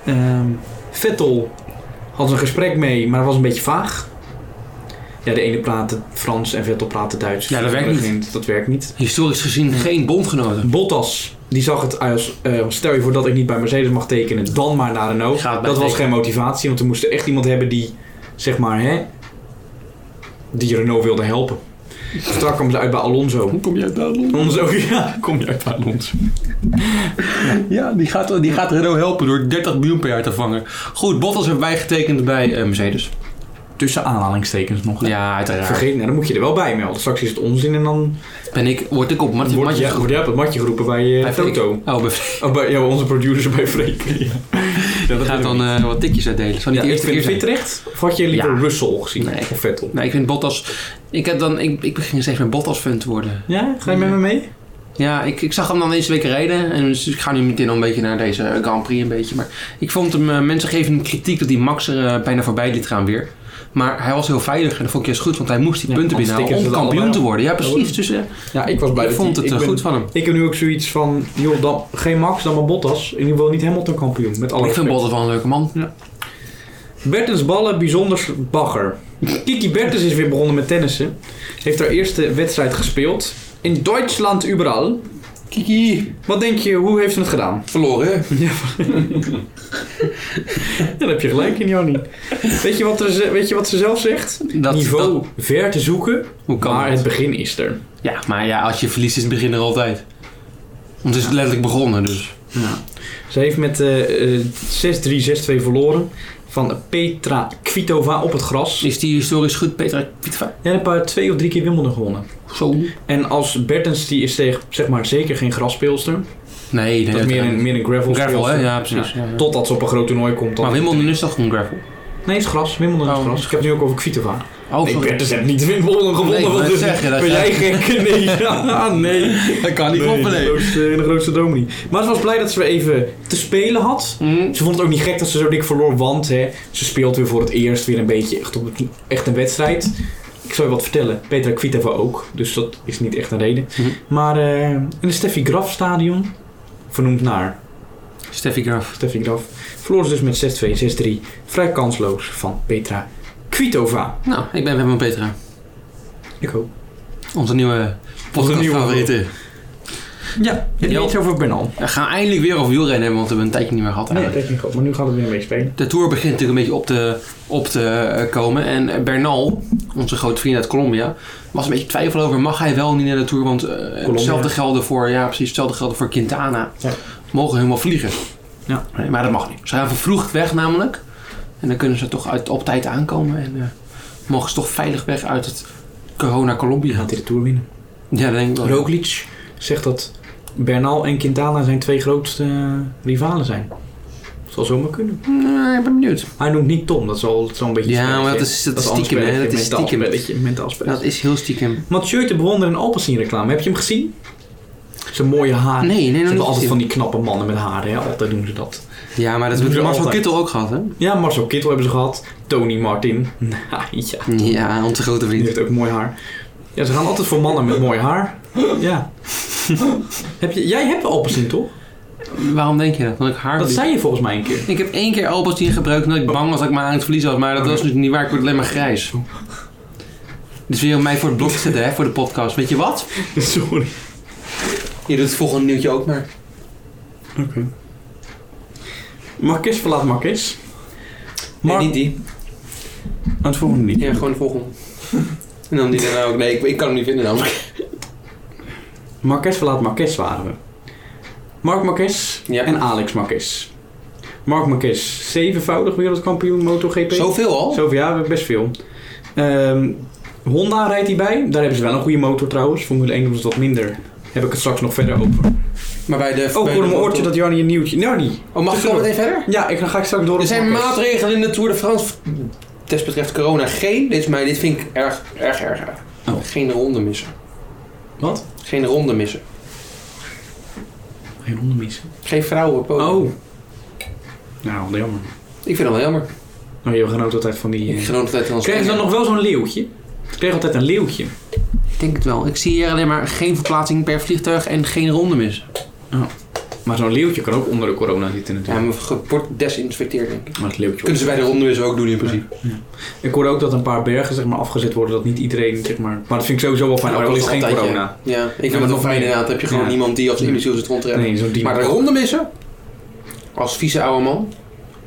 [SPEAKER 3] Ehm, Vettel had een gesprek mee, maar was een beetje vaag. Ja, de ene praatte Frans en Vettel praatte Duits.
[SPEAKER 2] Ja, dat werkt
[SPEAKER 3] niet. Dat werkt niet.
[SPEAKER 2] Historisch gezien geen bondgenoten.
[SPEAKER 3] Bottas, die zag het als, eh, stel je voor dat ik niet bij Mercedes mag tekenen, dan maar naar Renault.
[SPEAKER 2] Ik ga het
[SPEAKER 3] Dat
[SPEAKER 2] bij
[SPEAKER 3] was
[SPEAKER 2] tekenen.
[SPEAKER 3] geen motivatie, want we moesten echt iemand hebben die, zeg maar, hè, die Renault wilde helpen. Strak kwam ze uit bij Alonso.
[SPEAKER 2] Hoe kom je uit Duitsland?
[SPEAKER 3] Alonso, ja, kom je uit bij Alonso.
[SPEAKER 2] Ja, die gaat, die gaat Renault helpen door 30 miljoen per jaar te vangen. Goed, Bottas hebben wij getekend bij eh, Mercedes.
[SPEAKER 3] Tussen aanhalingstekens nog. hè.
[SPEAKER 2] Ja, uiteraard.
[SPEAKER 3] Vergeet, nou, dan moet je er wel bij melden. Straks is het onzin en dan
[SPEAKER 2] Ben ik, word ik op Martin
[SPEAKER 3] word
[SPEAKER 2] Matje
[SPEAKER 3] je, word jij op het matje geroepen bij eh
[SPEAKER 2] Freek.
[SPEAKER 3] Toto.
[SPEAKER 2] Oh, bij
[SPEAKER 3] Of bij ja, onze producer bij Freek. Ja. Ja, dat
[SPEAKER 2] gaat
[SPEAKER 3] wil
[SPEAKER 2] dan
[SPEAKER 3] ik
[SPEAKER 2] eh, wat tikjes uitdelen. Zou
[SPEAKER 3] niet.
[SPEAKER 2] niet
[SPEAKER 3] Ja,
[SPEAKER 2] de
[SPEAKER 3] ik
[SPEAKER 2] eerste keer
[SPEAKER 3] vind
[SPEAKER 2] zijn.
[SPEAKER 3] het terecht. Of had je liever
[SPEAKER 2] Ja.
[SPEAKER 3] Russell gezien?
[SPEAKER 2] Nee.
[SPEAKER 3] Of Vettel?
[SPEAKER 2] Nee, ik vind Bottas... Ik, heb dan, ik, ik begin steeds meer Bottas-fan te worden.
[SPEAKER 3] Ja, ga je met me mee?
[SPEAKER 2] Ja, ik, ik zag hem dan deze week rijden. En dus ik ga nu meteen al een beetje naar deze Grand Prix een beetje. Maar ik vond hem... eh, mensen geven hem kritiek dat die Max er eh, bijna voorbij liet gaan weer. Maar hij was heel veilig en dat vond ik juist goed. Want hij moest die
[SPEAKER 3] Ja,
[SPEAKER 2] punten
[SPEAKER 3] want
[SPEAKER 2] binnenhalen om
[SPEAKER 3] stickers het
[SPEAKER 2] kampioen
[SPEAKER 3] allebei
[SPEAKER 2] te
[SPEAKER 3] op.
[SPEAKER 2] worden. Ja, precies.
[SPEAKER 3] worden.
[SPEAKER 2] Dus eh,
[SPEAKER 3] Ja, ik was blij
[SPEAKER 2] ik
[SPEAKER 3] dat
[SPEAKER 2] vond
[SPEAKER 3] hij-
[SPEAKER 2] het
[SPEAKER 3] ik
[SPEAKER 2] eh,
[SPEAKER 3] ben-
[SPEAKER 2] goed van hem.
[SPEAKER 3] Ik heb nu ook zoiets van, joh, dan, geen Max, dan maar Bottas. In ieder geval niet Hamilton kampioen. Met alle
[SPEAKER 2] Ik vind
[SPEAKER 3] respect.
[SPEAKER 2] Bottas wel een leuke man.
[SPEAKER 3] Bertens ballen bijzonder bagger. Kiki Bertens is weer begonnen met tennissen. Heeft haar eerste wedstrijd gespeeld. in Duitsland überall.
[SPEAKER 5] Kiki.
[SPEAKER 3] Wat denk je, hoe heeft ze het gedaan?
[SPEAKER 5] Verloren.
[SPEAKER 3] Daar heb je gelijk in, Jannie. Weet je wat, er, ze- weet je wat ze zelf zegt?
[SPEAKER 2] Dat-
[SPEAKER 3] Niveau ver te zoeken,
[SPEAKER 2] Hoe kan
[SPEAKER 3] maar
[SPEAKER 2] dat?
[SPEAKER 3] het begin is er.
[SPEAKER 2] Ja, maar ja, als je verliest is het begin er altijd. Want het is letterlijk begonnen, dus.
[SPEAKER 3] Ze heeft met eh, eh, 6-3, 6-2 verloren van Petra Kvitova op het gras.
[SPEAKER 2] Is die historisch goed, Petra Kvitova?
[SPEAKER 3] En een paar twee of drie keer Wimbledon gewonnen.
[SPEAKER 2] Zo?
[SPEAKER 3] En als Bertens, die is tegen, zeg maar zeker geen grasspeelster.
[SPEAKER 2] Nee, nee.
[SPEAKER 3] Dat is meer een, meer een gravel
[SPEAKER 2] gravel, hè? Ja, precies. Ja.
[SPEAKER 3] Totdat ze op een groot toernooi komt. dan-
[SPEAKER 2] Maar Wimbledon is toch gewoon gravel?
[SPEAKER 3] Nee, het is gras. Wimbledon is
[SPEAKER 2] Oh.
[SPEAKER 3] gras. Ik heb het nu ook over Kvitova.
[SPEAKER 2] Oh,
[SPEAKER 3] nee,
[SPEAKER 2] sorry.
[SPEAKER 3] Bertens heeft niet Wimbledon gewonnen.
[SPEAKER 2] Nee, ik wou
[SPEAKER 3] want
[SPEAKER 2] net
[SPEAKER 3] dus
[SPEAKER 2] zeggen, dat
[SPEAKER 3] ben jij
[SPEAKER 2] zei-
[SPEAKER 3] gek? Nee, ja, nee.
[SPEAKER 2] Dat kan niet
[SPEAKER 3] in,
[SPEAKER 2] kloppen,
[SPEAKER 3] de
[SPEAKER 2] nee.
[SPEAKER 3] grootste, in de grootste dome niet. Maar ze was blij dat ze weer even te spelen had.
[SPEAKER 2] Mm.
[SPEAKER 3] Ze vond het ook niet gek dat ze zo dik verloor, want hè, ze speelt weer voor het eerst weer een beetje echt, op het- echt een wedstrijd. Ik zal je wat vertellen, Petra Kvitova ook, dus dat is niet echt een reden.
[SPEAKER 2] Mhm.
[SPEAKER 3] Maar eh, in het Steffi Graf stadion, vernoemd naar
[SPEAKER 2] Steffi Graf.
[SPEAKER 3] Steffi Graf, verloor ze dus met 6-2, 6-3, vrij kansloos van Petra Kvitova.
[SPEAKER 2] Nou, ik ben weer met Petra.
[SPEAKER 3] Ik hoop.
[SPEAKER 2] Onze nieuwe podcast-favoriete.
[SPEAKER 3] Ja, je
[SPEAKER 2] Jo.
[SPEAKER 3] weet over Bernal.
[SPEAKER 2] We gaan eindelijk weer over wielrennen hebben, want we hebben een tijdje niet meer gehad
[SPEAKER 3] Nee,
[SPEAKER 2] eigenlijk.
[SPEAKER 3] dat is niet goed, maar nu gaan we weer mee spelen.
[SPEAKER 2] De Tour begint natuurlijk een beetje op te, op te eh, komen. En eh, Bernal, onze grote vriend uit Colombia, was een beetje twijfel over... mag hij wel niet naar de Tour? Want eh, hetzelfde gelden voor... Ja, precies. Hetzelfde gelden voor Quintana.
[SPEAKER 3] Ja.
[SPEAKER 2] Mogen helemaal vliegen.
[SPEAKER 3] Ja.
[SPEAKER 2] Nee, maar dat mag niet. Ze gaan vervroegd weg namelijk. En dan kunnen ze toch uit, op tijd aankomen. En eh, mogen ze toch veilig weg uit het corona
[SPEAKER 3] Wie
[SPEAKER 2] Colombia.
[SPEAKER 3] gaat dit de Tour winnen?
[SPEAKER 2] Ja, dat denk ik wel.
[SPEAKER 3] Roglic zegt dat Bernal en Quintana zijn twee grootste eh, rivalen zijn. Zal zomaar kunnen.
[SPEAKER 2] Nee, ik ben benieuwd.
[SPEAKER 3] Hij noemt niet Tom, dat is al, dat is al een beetje...
[SPEAKER 2] Ja,
[SPEAKER 3] spelletje,
[SPEAKER 2] maar dat is- dat is
[SPEAKER 3] ander
[SPEAKER 2] stiekem, hè, dat
[SPEAKER 3] spelletje,
[SPEAKER 2] is
[SPEAKER 3] mentaal
[SPEAKER 2] stiekem.
[SPEAKER 3] Spelletje, mentaal
[SPEAKER 2] Dat
[SPEAKER 3] spelletje.
[SPEAKER 2] is heel stiekem.
[SPEAKER 3] Mathieu te bewonderen in Alpecin reclame. Heb je hem gezien? Zijn mooie haar.
[SPEAKER 2] Nee, nee,
[SPEAKER 3] Ze
[SPEAKER 2] nog
[SPEAKER 3] hebben
[SPEAKER 2] niet
[SPEAKER 3] altijd van
[SPEAKER 2] gezien.
[SPEAKER 3] die knappe mannen met haar, hè? Altijd doen ze dat.
[SPEAKER 2] Ja, maar dat hebben
[SPEAKER 3] Doen
[SPEAKER 2] we
[SPEAKER 3] ze
[SPEAKER 2] Marcel
[SPEAKER 3] altijd.
[SPEAKER 2] Kittel ook gehad, hè?
[SPEAKER 3] Ja, Marcel Kittel hebben ze gehad. Tony Martin. Nou ja,
[SPEAKER 2] Ja, onze grote
[SPEAKER 3] die
[SPEAKER 2] vriend.
[SPEAKER 3] heeft ook mooi haar. Ja, ze gaan altijd voor mannen met mooi haar. Ja. heb je, jij hebt Alpecin, toch?
[SPEAKER 2] Waarom denk je dat? Want ik haar
[SPEAKER 3] Dat
[SPEAKER 2] verlies.
[SPEAKER 3] zei je volgens mij een keer.
[SPEAKER 2] Ik heb één keer Alpecin gebruikt omdat ik bang was dat ik mijn haar aan het verliezen had. Maar dat was dus niet waar. Ik word alleen maar grijs. Dus weer om mij voor het blok te zetten, hè, voor de podcast. Weet je wat?
[SPEAKER 3] Sorry.
[SPEAKER 5] Je doet het volgende nieuwtje ook maar.
[SPEAKER 3] Marques verlaat Marques.
[SPEAKER 5] Nee,
[SPEAKER 3] Mark-
[SPEAKER 5] niet die.
[SPEAKER 3] het volgende niet.
[SPEAKER 5] Ja, gewoon de volgende. En dan die daarna ook. Nee, ik, ik kan hem niet vinden namelijk.
[SPEAKER 3] Marques verlaat Marques waren we. Mark Marques
[SPEAKER 5] Ja.
[SPEAKER 3] en Alex Marques. Mark Marques, zevenvoudig wereldkampioen MotoGP.
[SPEAKER 5] Zoveel al?
[SPEAKER 3] Zoveel, ja, we hebben best veel. Ehm, Honda rijdt hij bij. Daar hebben ze wel een goede motor trouwens. Formule 1 doen ze wat minder. Heb ik het straks nog verder over.
[SPEAKER 5] Maar bij de...
[SPEAKER 3] Oh, ik hoor
[SPEAKER 5] bij de
[SPEAKER 3] mijn
[SPEAKER 5] motor-
[SPEAKER 3] oortje dat Jannie een nieuwtje... Jannie!
[SPEAKER 5] Oh, mag ik al meteen verder?
[SPEAKER 3] Ja, ik, dan ga ik straks door op
[SPEAKER 5] Er zijn
[SPEAKER 3] Marquez.
[SPEAKER 5] maatregelen in de Tour de France. Desbetreft corona geen. Dit, is mij, dit vind ik erg, erg, erg. erg.
[SPEAKER 3] Oh.
[SPEAKER 5] Geen ronde missen.
[SPEAKER 3] Wat?
[SPEAKER 5] Geen ronde missen.
[SPEAKER 3] Geen honden missen.
[SPEAKER 5] Geen vrouwen op het podium.
[SPEAKER 3] Oh. Nou, wat jammer.
[SPEAKER 5] Oh. Ik vind dat wel jammer.
[SPEAKER 3] Nou, je genoot altijd van die... eh,
[SPEAKER 5] Ik genoot altijd van ons.
[SPEAKER 3] Kregen ze dan nog wel zo'n leeuwtje? Ze kregen altijd een leeuwtje.
[SPEAKER 2] Ik denk het wel. Ik zie hier alleen maar geen verplaatsing per vliegtuig en geen ronde mis.
[SPEAKER 3] Maar zo'n leeuwtje kan ook onder de corona zitten
[SPEAKER 5] Ja,
[SPEAKER 3] natuurlijk.
[SPEAKER 5] maar ge- wordt gedesinfecteerd denk ik.
[SPEAKER 3] Maar het leeuwtje
[SPEAKER 5] Kunnen ze bij de ronde missen ook doen in principe.
[SPEAKER 3] Ik hoorde ook dat een paar bergen zeg maar, afgezet worden, dat niet iedereen zeg maar... Maar dat vind ik sowieso wel fijn, ook al is het geen
[SPEAKER 5] Altijd, ja.
[SPEAKER 3] corona.
[SPEAKER 5] Ja, ik
[SPEAKER 3] maar
[SPEAKER 5] vind het wel
[SPEAKER 3] nog
[SPEAKER 5] fijn
[SPEAKER 3] meer.
[SPEAKER 5] inderdaad. Dan heb je gewoon
[SPEAKER 3] Ja.
[SPEAKER 5] iemand die als imbeciel zit rond te rennen.
[SPEAKER 3] Nee, zo'n dino.
[SPEAKER 5] Maar de ronde missen? Als vieze oude man?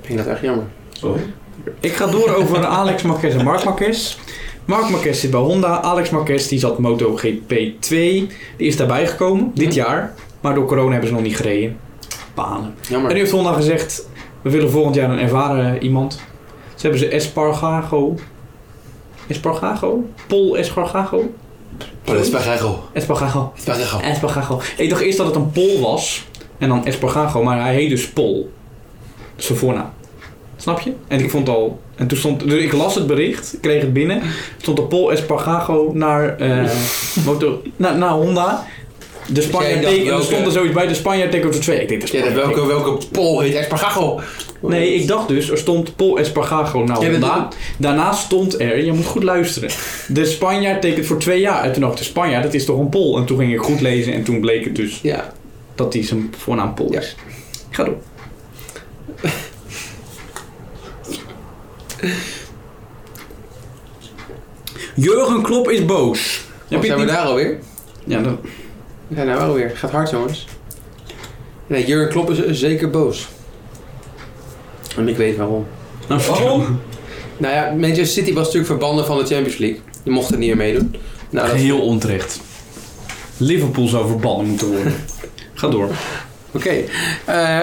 [SPEAKER 5] Vind ik dat echt jammer.
[SPEAKER 3] Ik ga door over Alex Marquez en Mark Marquez. Mark Marquez zit bij Honda. Alex Marquez die zat MotoGP 2. Die is daarbij gekomen, dit jaar. Maar door corona hebben ze nog niet gereden. Balen. En nu
[SPEAKER 5] Jammer.
[SPEAKER 3] heeft Honda gezegd, we willen volgend jaar een ervaren iemand. Ze hebben ze Espargago. Espargago? Pol Espargago?
[SPEAKER 5] Espargaro.
[SPEAKER 3] Espargago.
[SPEAKER 5] Espargaro.
[SPEAKER 3] Espargago. Ik dacht eerst dat het een Pol was. En dan Espargago, maar hij heet dus Pol. Dat is zijn voornaam. Snap je? En ik vond al... En toen stond... Dus ik las het bericht, ik kreeg het binnen. Stond de Pol Espargago naar, eh motor, naar, naar Honda. De Spanjaard
[SPEAKER 5] Dus dacht
[SPEAKER 3] teken- en er
[SPEAKER 5] welke-
[SPEAKER 3] stond er zoiets bij, de Spanjaard teken op de twee. Ik denk, de
[SPEAKER 5] Ja,
[SPEAKER 3] Spanjaard
[SPEAKER 5] welke, welke pol heet Espargaro?
[SPEAKER 3] Nee, ik dacht dus, er stond Pol Espargago nou
[SPEAKER 5] Ja, dat-
[SPEAKER 3] Honda. Daarna stond er, je moet goed luisteren, de Spanjaard tekent voor twee jaar. En toen dacht ik, de Spanjaard, dat is toch een Pol? En toen ging ik goed lezen en toen bleek het dus
[SPEAKER 5] Ja.
[SPEAKER 3] dat hij zijn voornaam Pol
[SPEAKER 5] Ja.
[SPEAKER 3] is. Ga door. Jurgen Klopp is boos.
[SPEAKER 5] Wat
[SPEAKER 3] Heb je
[SPEAKER 5] zijn
[SPEAKER 3] het
[SPEAKER 5] we
[SPEAKER 3] niet-
[SPEAKER 5] daar alweer?
[SPEAKER 3] Ja, dat...
[SPEAKER 5] Ja, nou wel weer. Gaat hard, jongens. Nee, Jurgen Klopp is eh, zeker boos. En ik weet waarom.
[SPEAKER 4] Waarom?
[SPEAKER 5] Nou ja, Manchester City was natuurlijk verbannen van de Champions League. Die mochten niet meer meedoen. Nou, dat-
[SPEAKER 1] Geheel onterecht. Liverpool zou verbannen moeten worden.
[SPEAKER 3] Ga door.
[SPEAKER 2] Oké.
[SPEAKER 5] Eh,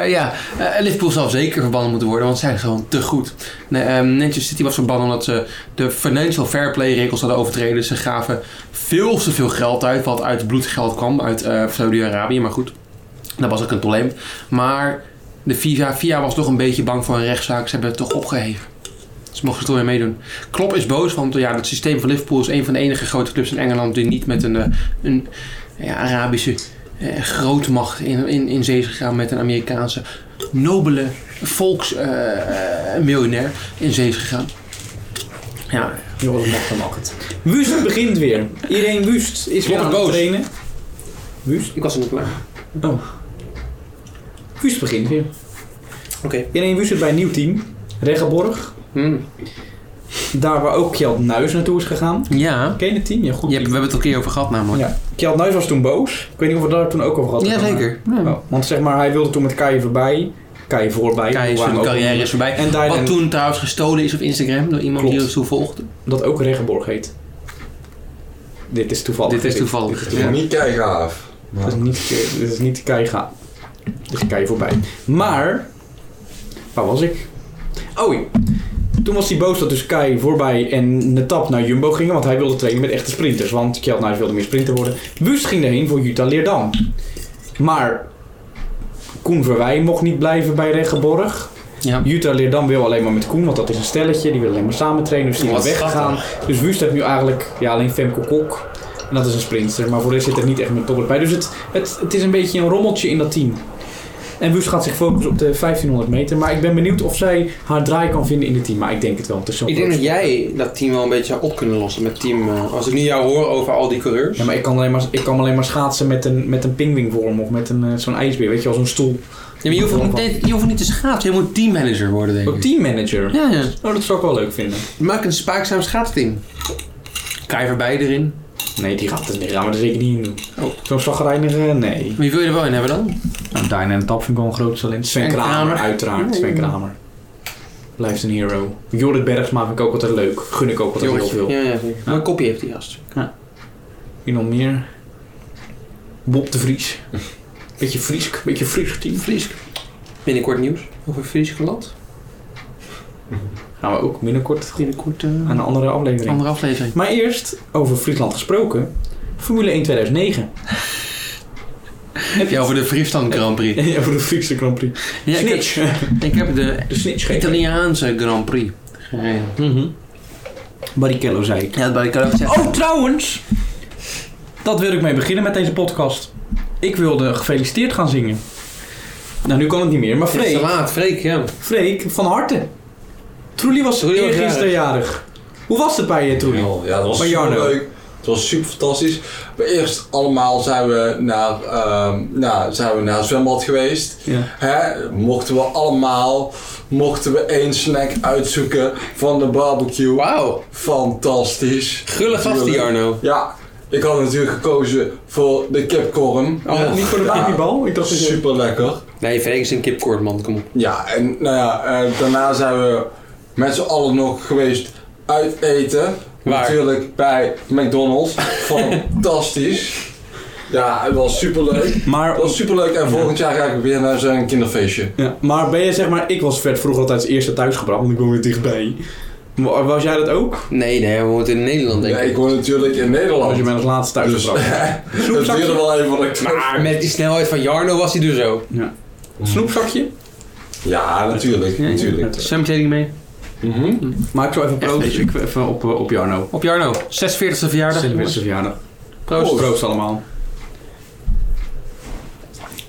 [SPEAKER 5] ja, Eh, Liverpool zal zeker verbannen moeten worden, want zij zijn gewoon te goed. Nee, eh, Manchester City was verbannen omdat ze de financial fair play regels hadden overtreden. Ze gaven veel te veel geld uit, wat uit bloedgeld kwam, uit eh, Saudi-Arabië. Maar goed, dat was ook een probleem. Maar de FIFA, FIA was toch een beetje bang voor een rechtszaak. Ze hebben het toch opgeheven. Ze mochten er toch weer meedoen. Klopp is boos, want eh, ja, het systeem van Liverpool is een van de enige grote clubs in Engeland die niet met een, eh, een ja, Arabische eh, grootmacht in, in, in zee is gegaan met een Amerikaanse nobele
[SPEAKER 2] eh,
[SPEAKER 5] volksmiljonair in zee is gegaan. Ja,
[SPEAKER 1] Joh, dat mag dan ook het.
[SPEAKER 3] Wust begint weer. Iedereen Wust is weer aan het
[SPEAKER 5] Robert Boos.
[SPEAKER 3] trainen. Wust? Oh.
[SPEAKER 5] ik was er niet klaar.
[SPEAKER 3] Wust begint weer.
[SPEAKER 5] Oké.
[SPEAKER 3] Iedereen Wust zit bij een nieuw team. Regenborg.
[SPEAKER 5] Hmm.
[SPEAKER 3] Daar waar ook Kjeld Nuis naartoe is gegaan.
[SPEAKER 2] Ja.
[SPEAKER 3] Ken je het team? Ja, goed.
[SPEAKER 2] Je hebt, we hebben het al een keer over gehad namelijk.
[SPEAKER 3] Ja. Kjeld Nuis was toen boos. Ik weet niet of we daar toen ook over hadden.
[SPEAKER 2] Ja, zeker. Ja.
[SPEAKER 3] Oh, want zeg maar, hij wilde toen met Kai voorbij. Kai voorbij.
[SPEAKER 2] Kai is
[SPEAKER 3] Waar
[SPEAKER 2] zijn
[SPEAKER 3] ook-
[SPEAKER 2] carrière is voorbij.
[SPEAKER 3] En daarin
[SPEAKER 2] Wat toen trouwens gestolen is op Instagram door iemand
[SPEAKER 3] Klopt.
[SPEAKER 2] die ons toen volgde.
[SPEAKER 3] dat ook Regenborg heet. Dit is toevallig.
[SPEAKER 2] Dit is toevallig.
[SPEAKER 3] dit is
[SPEAKER 2] Ja.
[SPEAKER 4] Niet kijken af.
[SPEAKER 3] Dat is niet, dit is niet kei ga. Dus kei voorbij. Maar, waar was ik? Oh, toen was hij boos dat dus Kai voorbij en Netap naar Jumbo gingen, want hij wilde trainen met echte sprinters. Want Kjeld Nuis wilde meer sprinter worden. Wust ging erheen voor Jutta Leerdam. Maar Koen Verwij mocht niet blijven bij Regenborg.
[SPEAKER 2] Ja.
[SPEAKER 3] Jutta Leerdam wil alleen maar met Koen, want dat is een stelletje. Die wil alleen maar samen trainen, dus die is
[SPEAKER 2] Wat
[SPEAKER 3] weggegaan. Dus Wust heeft nu eigenlijk ja, alleen Femke Kok. En dat is een sprinter, maar voor de rest zit er niet echt meer toppers bij. Dus het, het, het is een beetje een rommeltje in dat team. En Wust gaat zich focussen op de 1500 meter. Maar ik ben benieuwd of zij haar draai kan vinden in het team. Maar ik denk het wel. want Het is zo'n
[SPEAKER 5] Ik denk dat
[SPEAKER 3] groot-
[SPEAKER 5] jij dat team wel een beetje zou op kunnen lossen met team. eh, als ik nu jou hoor over al die coureurs.
[SPEAKER 3] Ja, maar ik kan, alleen maar, ik kan alleen maar schaatsen met een, met een pingwingvorm of met een, eh, zo'n ijsbeer. Weet je wel, zo'n stoel.
[SPEAKER 2] Ja, maar je, hoeft ook niet, nee, je hoeft niet te schaatsen, je moet teammanager worden, denk
[SPEAKER 3] Een
[SPEAKER 2] ik.
[SPEAKER 3] teammanager.
[SPEAKER 2] Ja, ja.
[SPEAKER 3] Oh, dat zou ik wel leuk vinden.
[SPEAKER 5] Maak een spaakzaam schaatsteam.
[SPEAKER 2] Kai voorbij erin.
[SPEAKER 3] Nee, die gaat, die gaan we er zeker niet in doen.
[SPEAKER 2] Oh.
[SPEAKER 3] Zo'n slagreiniger, nee.
[SPEAKER 2] Wie wil je er wel in hebben dan?
[SPEAKER 3] Nou, Dijn en Tap vind ik wel een groot talent. Sven
[SPEAKER 2] Sven
[SPEAKER 3] Kramer,
[SPEAKER 2] Kramer.
[SPEAKER 3] uiteraard. Sven Kramer. Blijft een hero. Jorrit Bergsma vind ik ook altijd leuk. Gun ik ook altijd heel
[SPEAKER 5] Jongetje.
[SPEAKER 3] veel.
[SPEAKER 5] Ja, ja, zeker. Maar een kopje heeft die gast.
[SPEAKER 3] Wie nog meer? Bob de Vries. Beetje Friesk. Beetje Friesk team.
[SPEAKER 5] Fries. Binnenkort nieuws over Friesland.
[SPEAKER 3] Gaan we ook binnenkort
[SPEAKER 5] Binnenkort eh,
[SPEAKER 3] aan een andere
[SPEAKER 2] Een
[SPEAKER 3] aflevering.
[SPEAKER 2] andere aflevering.
[SPEAKER 3] Maar eerst, over Friesland gesproken. Formule 1 2009.
[SPEAKER 2] Heb je over de Friesland Grand Prix?
[SPEAKER 3] over de Friese Grand Prix.
[SPEAKER 2] Ja, ik,
[SPEAKER 3] snitch.
[SPEAKER 2] heb, ik heb de
[SPEAKER 3] De snitch geven.
[SPEAKER 2] Italiaanse Grand Prix gereden.
[SPEAKER 3] Barrichello Mhm. zei ik.
[SPEAKER 2] Ja, dat wil ik ook zeggen.
[SPEAKER 3] Oh, trouwens. Dat wil ik mee beginnen met deze podcast. Ik wilde gefeliciteerd gaan zingen. Nou, nu kan het niet meer. Maar
[SPEAKER 5] het is te
[SPEAKER 3] Freek,
[SPEAKER 5] laat, Freek, ja.
[SPEAKER 3] Freek van harte. Troelie was
[SPEAKER 5] Troelie was
[SPEAKER 3] eergisteren jarig. Hoe was het bij je, Troelie?
[SPEAKER 4] Ja, dat was
[SPEAKER 3] Maar
[SPEAKER 4] super
[SPEAKER 3] Jarno?
[SPEAKER 4] leuk. Het was super fantastisch. Maar eerst allemaal zijn we naar, ehm nou, zijn we naar het zwembad geweest.
[SPEAKER 3] Ja.
[SPEAKER 4] Hè? Mochten we allemaal, mochten we één snack uitzoeken van de barbecue.
[SPEAKER 5] Wauw.
[SPEAKER 4] Fantastisch.
[SPEAKER 5] Gullig gast die
[SPEAKER 4] Natuurlijk.
[SPEAKER 5] Arno.
[SPEAKER 4] Ja, ik had natuurlijk gekozen voor de kipcorn.
[SPEAKER 5] Oh,
[SPEAKER 3] Niet voor de
[SPEAKER 4] Ja.
[SPEAKER 3] babybal? Ik dacht dat je...
[SPEAKER 4] Super lekker.
[SPEAKER 5] Nee, Freek is een kipkoord, man. Kom op.
[SPEAKER 4] Ja, en nou ja, eh, daarna zijn we met z'n allen nog geweest uit eten.
[SPEAKER 5] Waar?
[SPEAKER 4] Natuurlijk bij McDonald's. Fantastisch. Ja, het was superleuk.
[SPEAKER 3] Maar,
[SPEAKER 4] Het was superleuk en volgend jaar ga ik weer naar zo'n kinderfeestje.
[SPEAKER 3] ja, maar ben je zeg maar... Ik was vet vroeger altijd als eerste thuisgebracht, want ik woonde dichtbij. Maar Was jij dat ook?
[SPEAKER 5] Nee, nee, we moeten in Nederland, denk
[SPEAKER 4] Ja,
[SPEAKER 5] ik.
[SPEAKER 4] ik woon natuurlijk in Nederland.
[SPEAKER 3] Was je bent als laatste
[SPEAKER 4] dus
[SPEAKER 3] thuisgebracht?
[SPEAKER 4] het duurde wel even wat ik
[SPEAKER 5] Maar met die snelheid van Jarno was hij dus zo.
[SPEAKER 3] Snoepzakje?
[SPEAKER 4] Ja, natuurlijk. natuurlijk.
[SPEAKER 2] Zwemkleding mee.
[SPEAKER 4] Mhm.
[SPEAKER 3] Maar ik zou even
[SPEAKER 2] Echt,
[SPEAKER 3] proosten.
[SPEAKER 2] weet
[SPEAKER 3] Ik wil Even op, eh, op Jarno.
[SPEAKER 2] Op Jarno, 46e verjaardag.
[SPEAKER 3] Zijn verjaardag.
[SPEAKER 2] Proost.
[SPEAKER 3] Proost allemaal.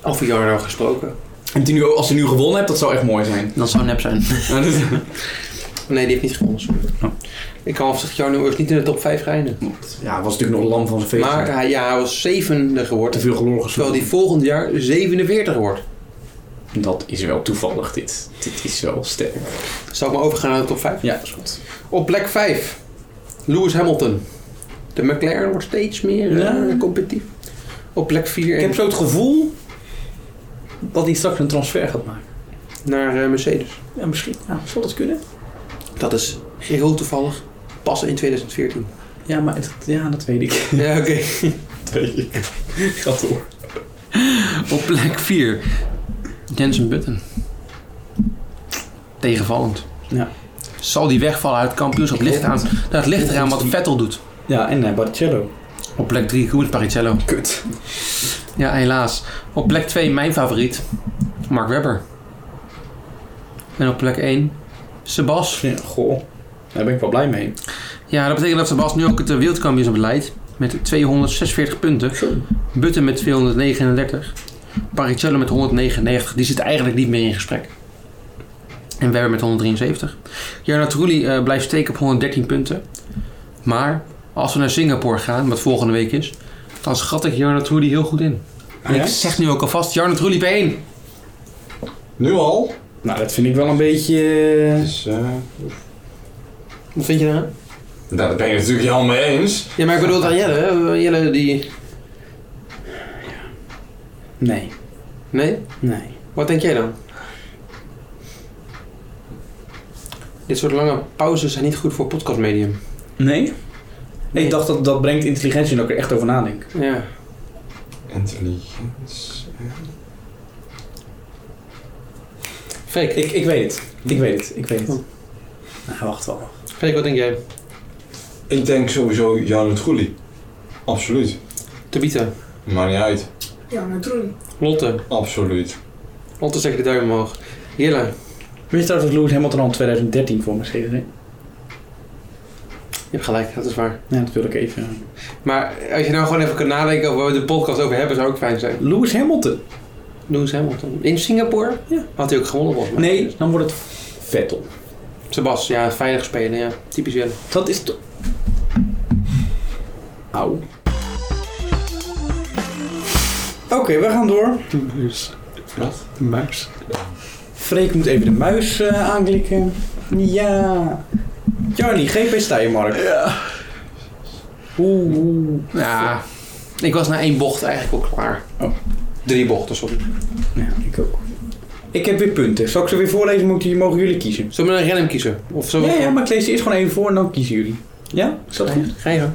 [SPEAKER 5] Over Jarno gesproken.
[SPEAKER 3] En die nu, als je nu gewonnen hebt, dat zou echt mooi zijn.
[SPEAKER 2] Dat zou nep zijn.
[SPEAKER 5] Nee, die heeft niet gewonnen, sorry.
[SPEAKER 3] Oh.
[SPEAKER 5] Ik kan afzicht Jarno is niet in de top 5 rijden.
[SPEAKER 3] ja, hij was natuurlijk nog lam van zijn feest.
[SPEAKER 5] Maar hij, ja, hij was zevende
[SPEAKER 3] te
[SPEAKER 5] geworden.
[SPEAKER 3] veel geloren
[SPEAKER 5] Terwijl
[SPEAKER 3] gesloten.
[SPEAKER 5] hij volgend jaar 47 wordt.
[SPEAKER 3] Dat is wel toevallig, dit. Dit is wel sterk.
[SPEAKER 5] Zal ik maar overgaan naar de top 5?
[SPEAKER 3] Ja, is goed.
[SPEAKER 5] Op plek 5, Lewis Hamilton. De McLaren wordt steeds meer eh,
[SPEAKER 3] Ja.
[SPEAKER 5] competitief.
[SPEAKER 2] op plek 4 en
[SPEAKER 3] Ik heb zo het gevoel dat hij straks een transfer gaat maken.
[SPEAKER 2] naar eh, Mercedes.
[SPEAKER 3] Ja, misschien. Ja, zou dat kunnen?
[SPEAKER 2] Dat is heel toevallig pas in 2014.
[SPEAKER 3] Ja, maar het- ja, dat weet ik.
[SPEAKER 2] Ja, oké.
[SPEAKER 3] Gaat door.
[SPEAKER 2] Op plek 4, Jensen Button. Tegenvallend.
[SPEAKER 3] Ja.
[SPEAKER 2] Zal die wegvallen uit het kampioenschap? Ligt aan, dat ligt eraan wat Vettel doet.
[SPEAKER 3] Ja, en eh Barcello.
[SPEAKER 2] Op plek 3, Rubens Barrichello.
[SPEAKER 3] Kut.
[SPEAKER 2] Ja, helaas. Op plek 2, mijn favoriet, Mark Webber. En op plek 1, Sebas.
[SPEAKER 3] Ja, goh. Daar ben ik wel blij mee.
[SPEAKER 2] Ja, dat betekent dat Sebas nu ook het eh, wereldkampioenschap leidt. Met 246 punten. Button met 239. Paricello met 199. Die zit eigenlijk niet meer in gesprek. En Werber met 173. Jarno Trulli eh, blijft steken op 113 punten. Maar als we naar Singapore gaan, wat volgende week is... dan schat ik Jarno Trulli heel goed in. En
[SPEAKER 3] Ja?
[SPEAKER 2] ik zeg nu ook alvast Jarno Trulli P1.
[SPEAKER 4] Nu al?
[SPEAKER 3] Nou, dat vind ik wel een beetje... eh,
[SPEAKER 4] Dus, eh,
[SPEAKER 2] Wat vind je daar?
[SPEAKER 4] nou, dat ben je natuurlijk helemaal mee eens.
[SPEAKER 2] Ja, maar ik bedoel dat Jelle. hè? Jelle die...
[SPEAKER 3] Nee,
[SPEAKER 2] Nee?
[SPEAKER 3] nee.
[SPEAKER 2] Wat denk jij dan? Dit soort lange pauzes zijn niet goed voor podcastmedium.
[SPEAKER 3] Nee?
[SPEAKER 2] Nee.
[SPEAKER 3] Ik dacht dat dat brengt intelligentie en dat ik er echt over nadenk.
[SPEAKER 2] Ja.
[SPEAKER 4] Intelligence. eh,
[SPEAKER 2] Freek,
[SPEAKER 3] Ik, ik weet het. Ik weet het. Ik weet het.
[SPEAKER 2] Hm.
[SPEAKER 3] Nou, wacht wel.
[SPEAKER 2] Freek, wat denk jij?
[SPEAKER 4] Ik denk sowieso Jan Trulli. Absoluut.
[SPEAKER 2] Tabita,
[SPEAKER 4] Maakt niet uit.
[SPEAKER 6] Ja, natuurlijk.
[SPEAKER 2] Lotte,
[SPEAKER 4] Absoluut.
[SPEAKER 2] Lotte zeg de duim omhoog. Jelle,
[SPEAKER 3] Wist je trouwens dat Lewis Hamilton al in 2013 voor Mercedes reed?
[SPEAKER 2] je hebt gelijk, dat is waar.
[SPEAKER 3] Ja, dat wil ik even. eh,
[SPEAKER 2] Maar als je nou gewoon even kan nadenken over waar we de podcast over hebben, zou ook fijn zijn.
[SPEAKER 3] Lewis Hamilton?
[SPEAKER 2] Lewis Hamilton. In Singapore?
[SPEAKER 3] Ja.
[SPEAKER 2] Had hij ook gewonnen volgens mij.
[SPEAKER 3] Nee, dan wordt het Vettel.
[SPEAKER 2] Sebas, ja, veilig spelen, ja. Typisch Jelle.
[SPEAKER 3] Dat is toch... Auw. Oké, we gaan door.
[SPEAKER 4] Wat?
[SPEAKER 2] Dus, De muis.
[SPEAKER 3] Freek moet even de muis eh, aanklikken. Ja. Charlie, GP Steiermark. Ja. Oeh, oeh.
[SPEAKER 2] Ja, ik was na één bocht eigenlijk al klaar.
[SPEAKER 3] Oh.
[SPEAKER 2] Drie bochten, sorry.
[SPEAKER 3] Ja, ik ook. Ik heb weer punten. Zal ik ze weer voorlezen? Moeten, mogen jullie kiezen?
[SPEAKER 2] Zullen we een rem kiezen? Of zullen
[SPEAKER 3] Ja,
[SPEAKER 2] we
[SPEAKER 3] ja, maar ik lees ze eerst gewoon even voor en dan kiezen jullie. Ja? Is dat goed?
[SPEAKER 2] Ga je gang.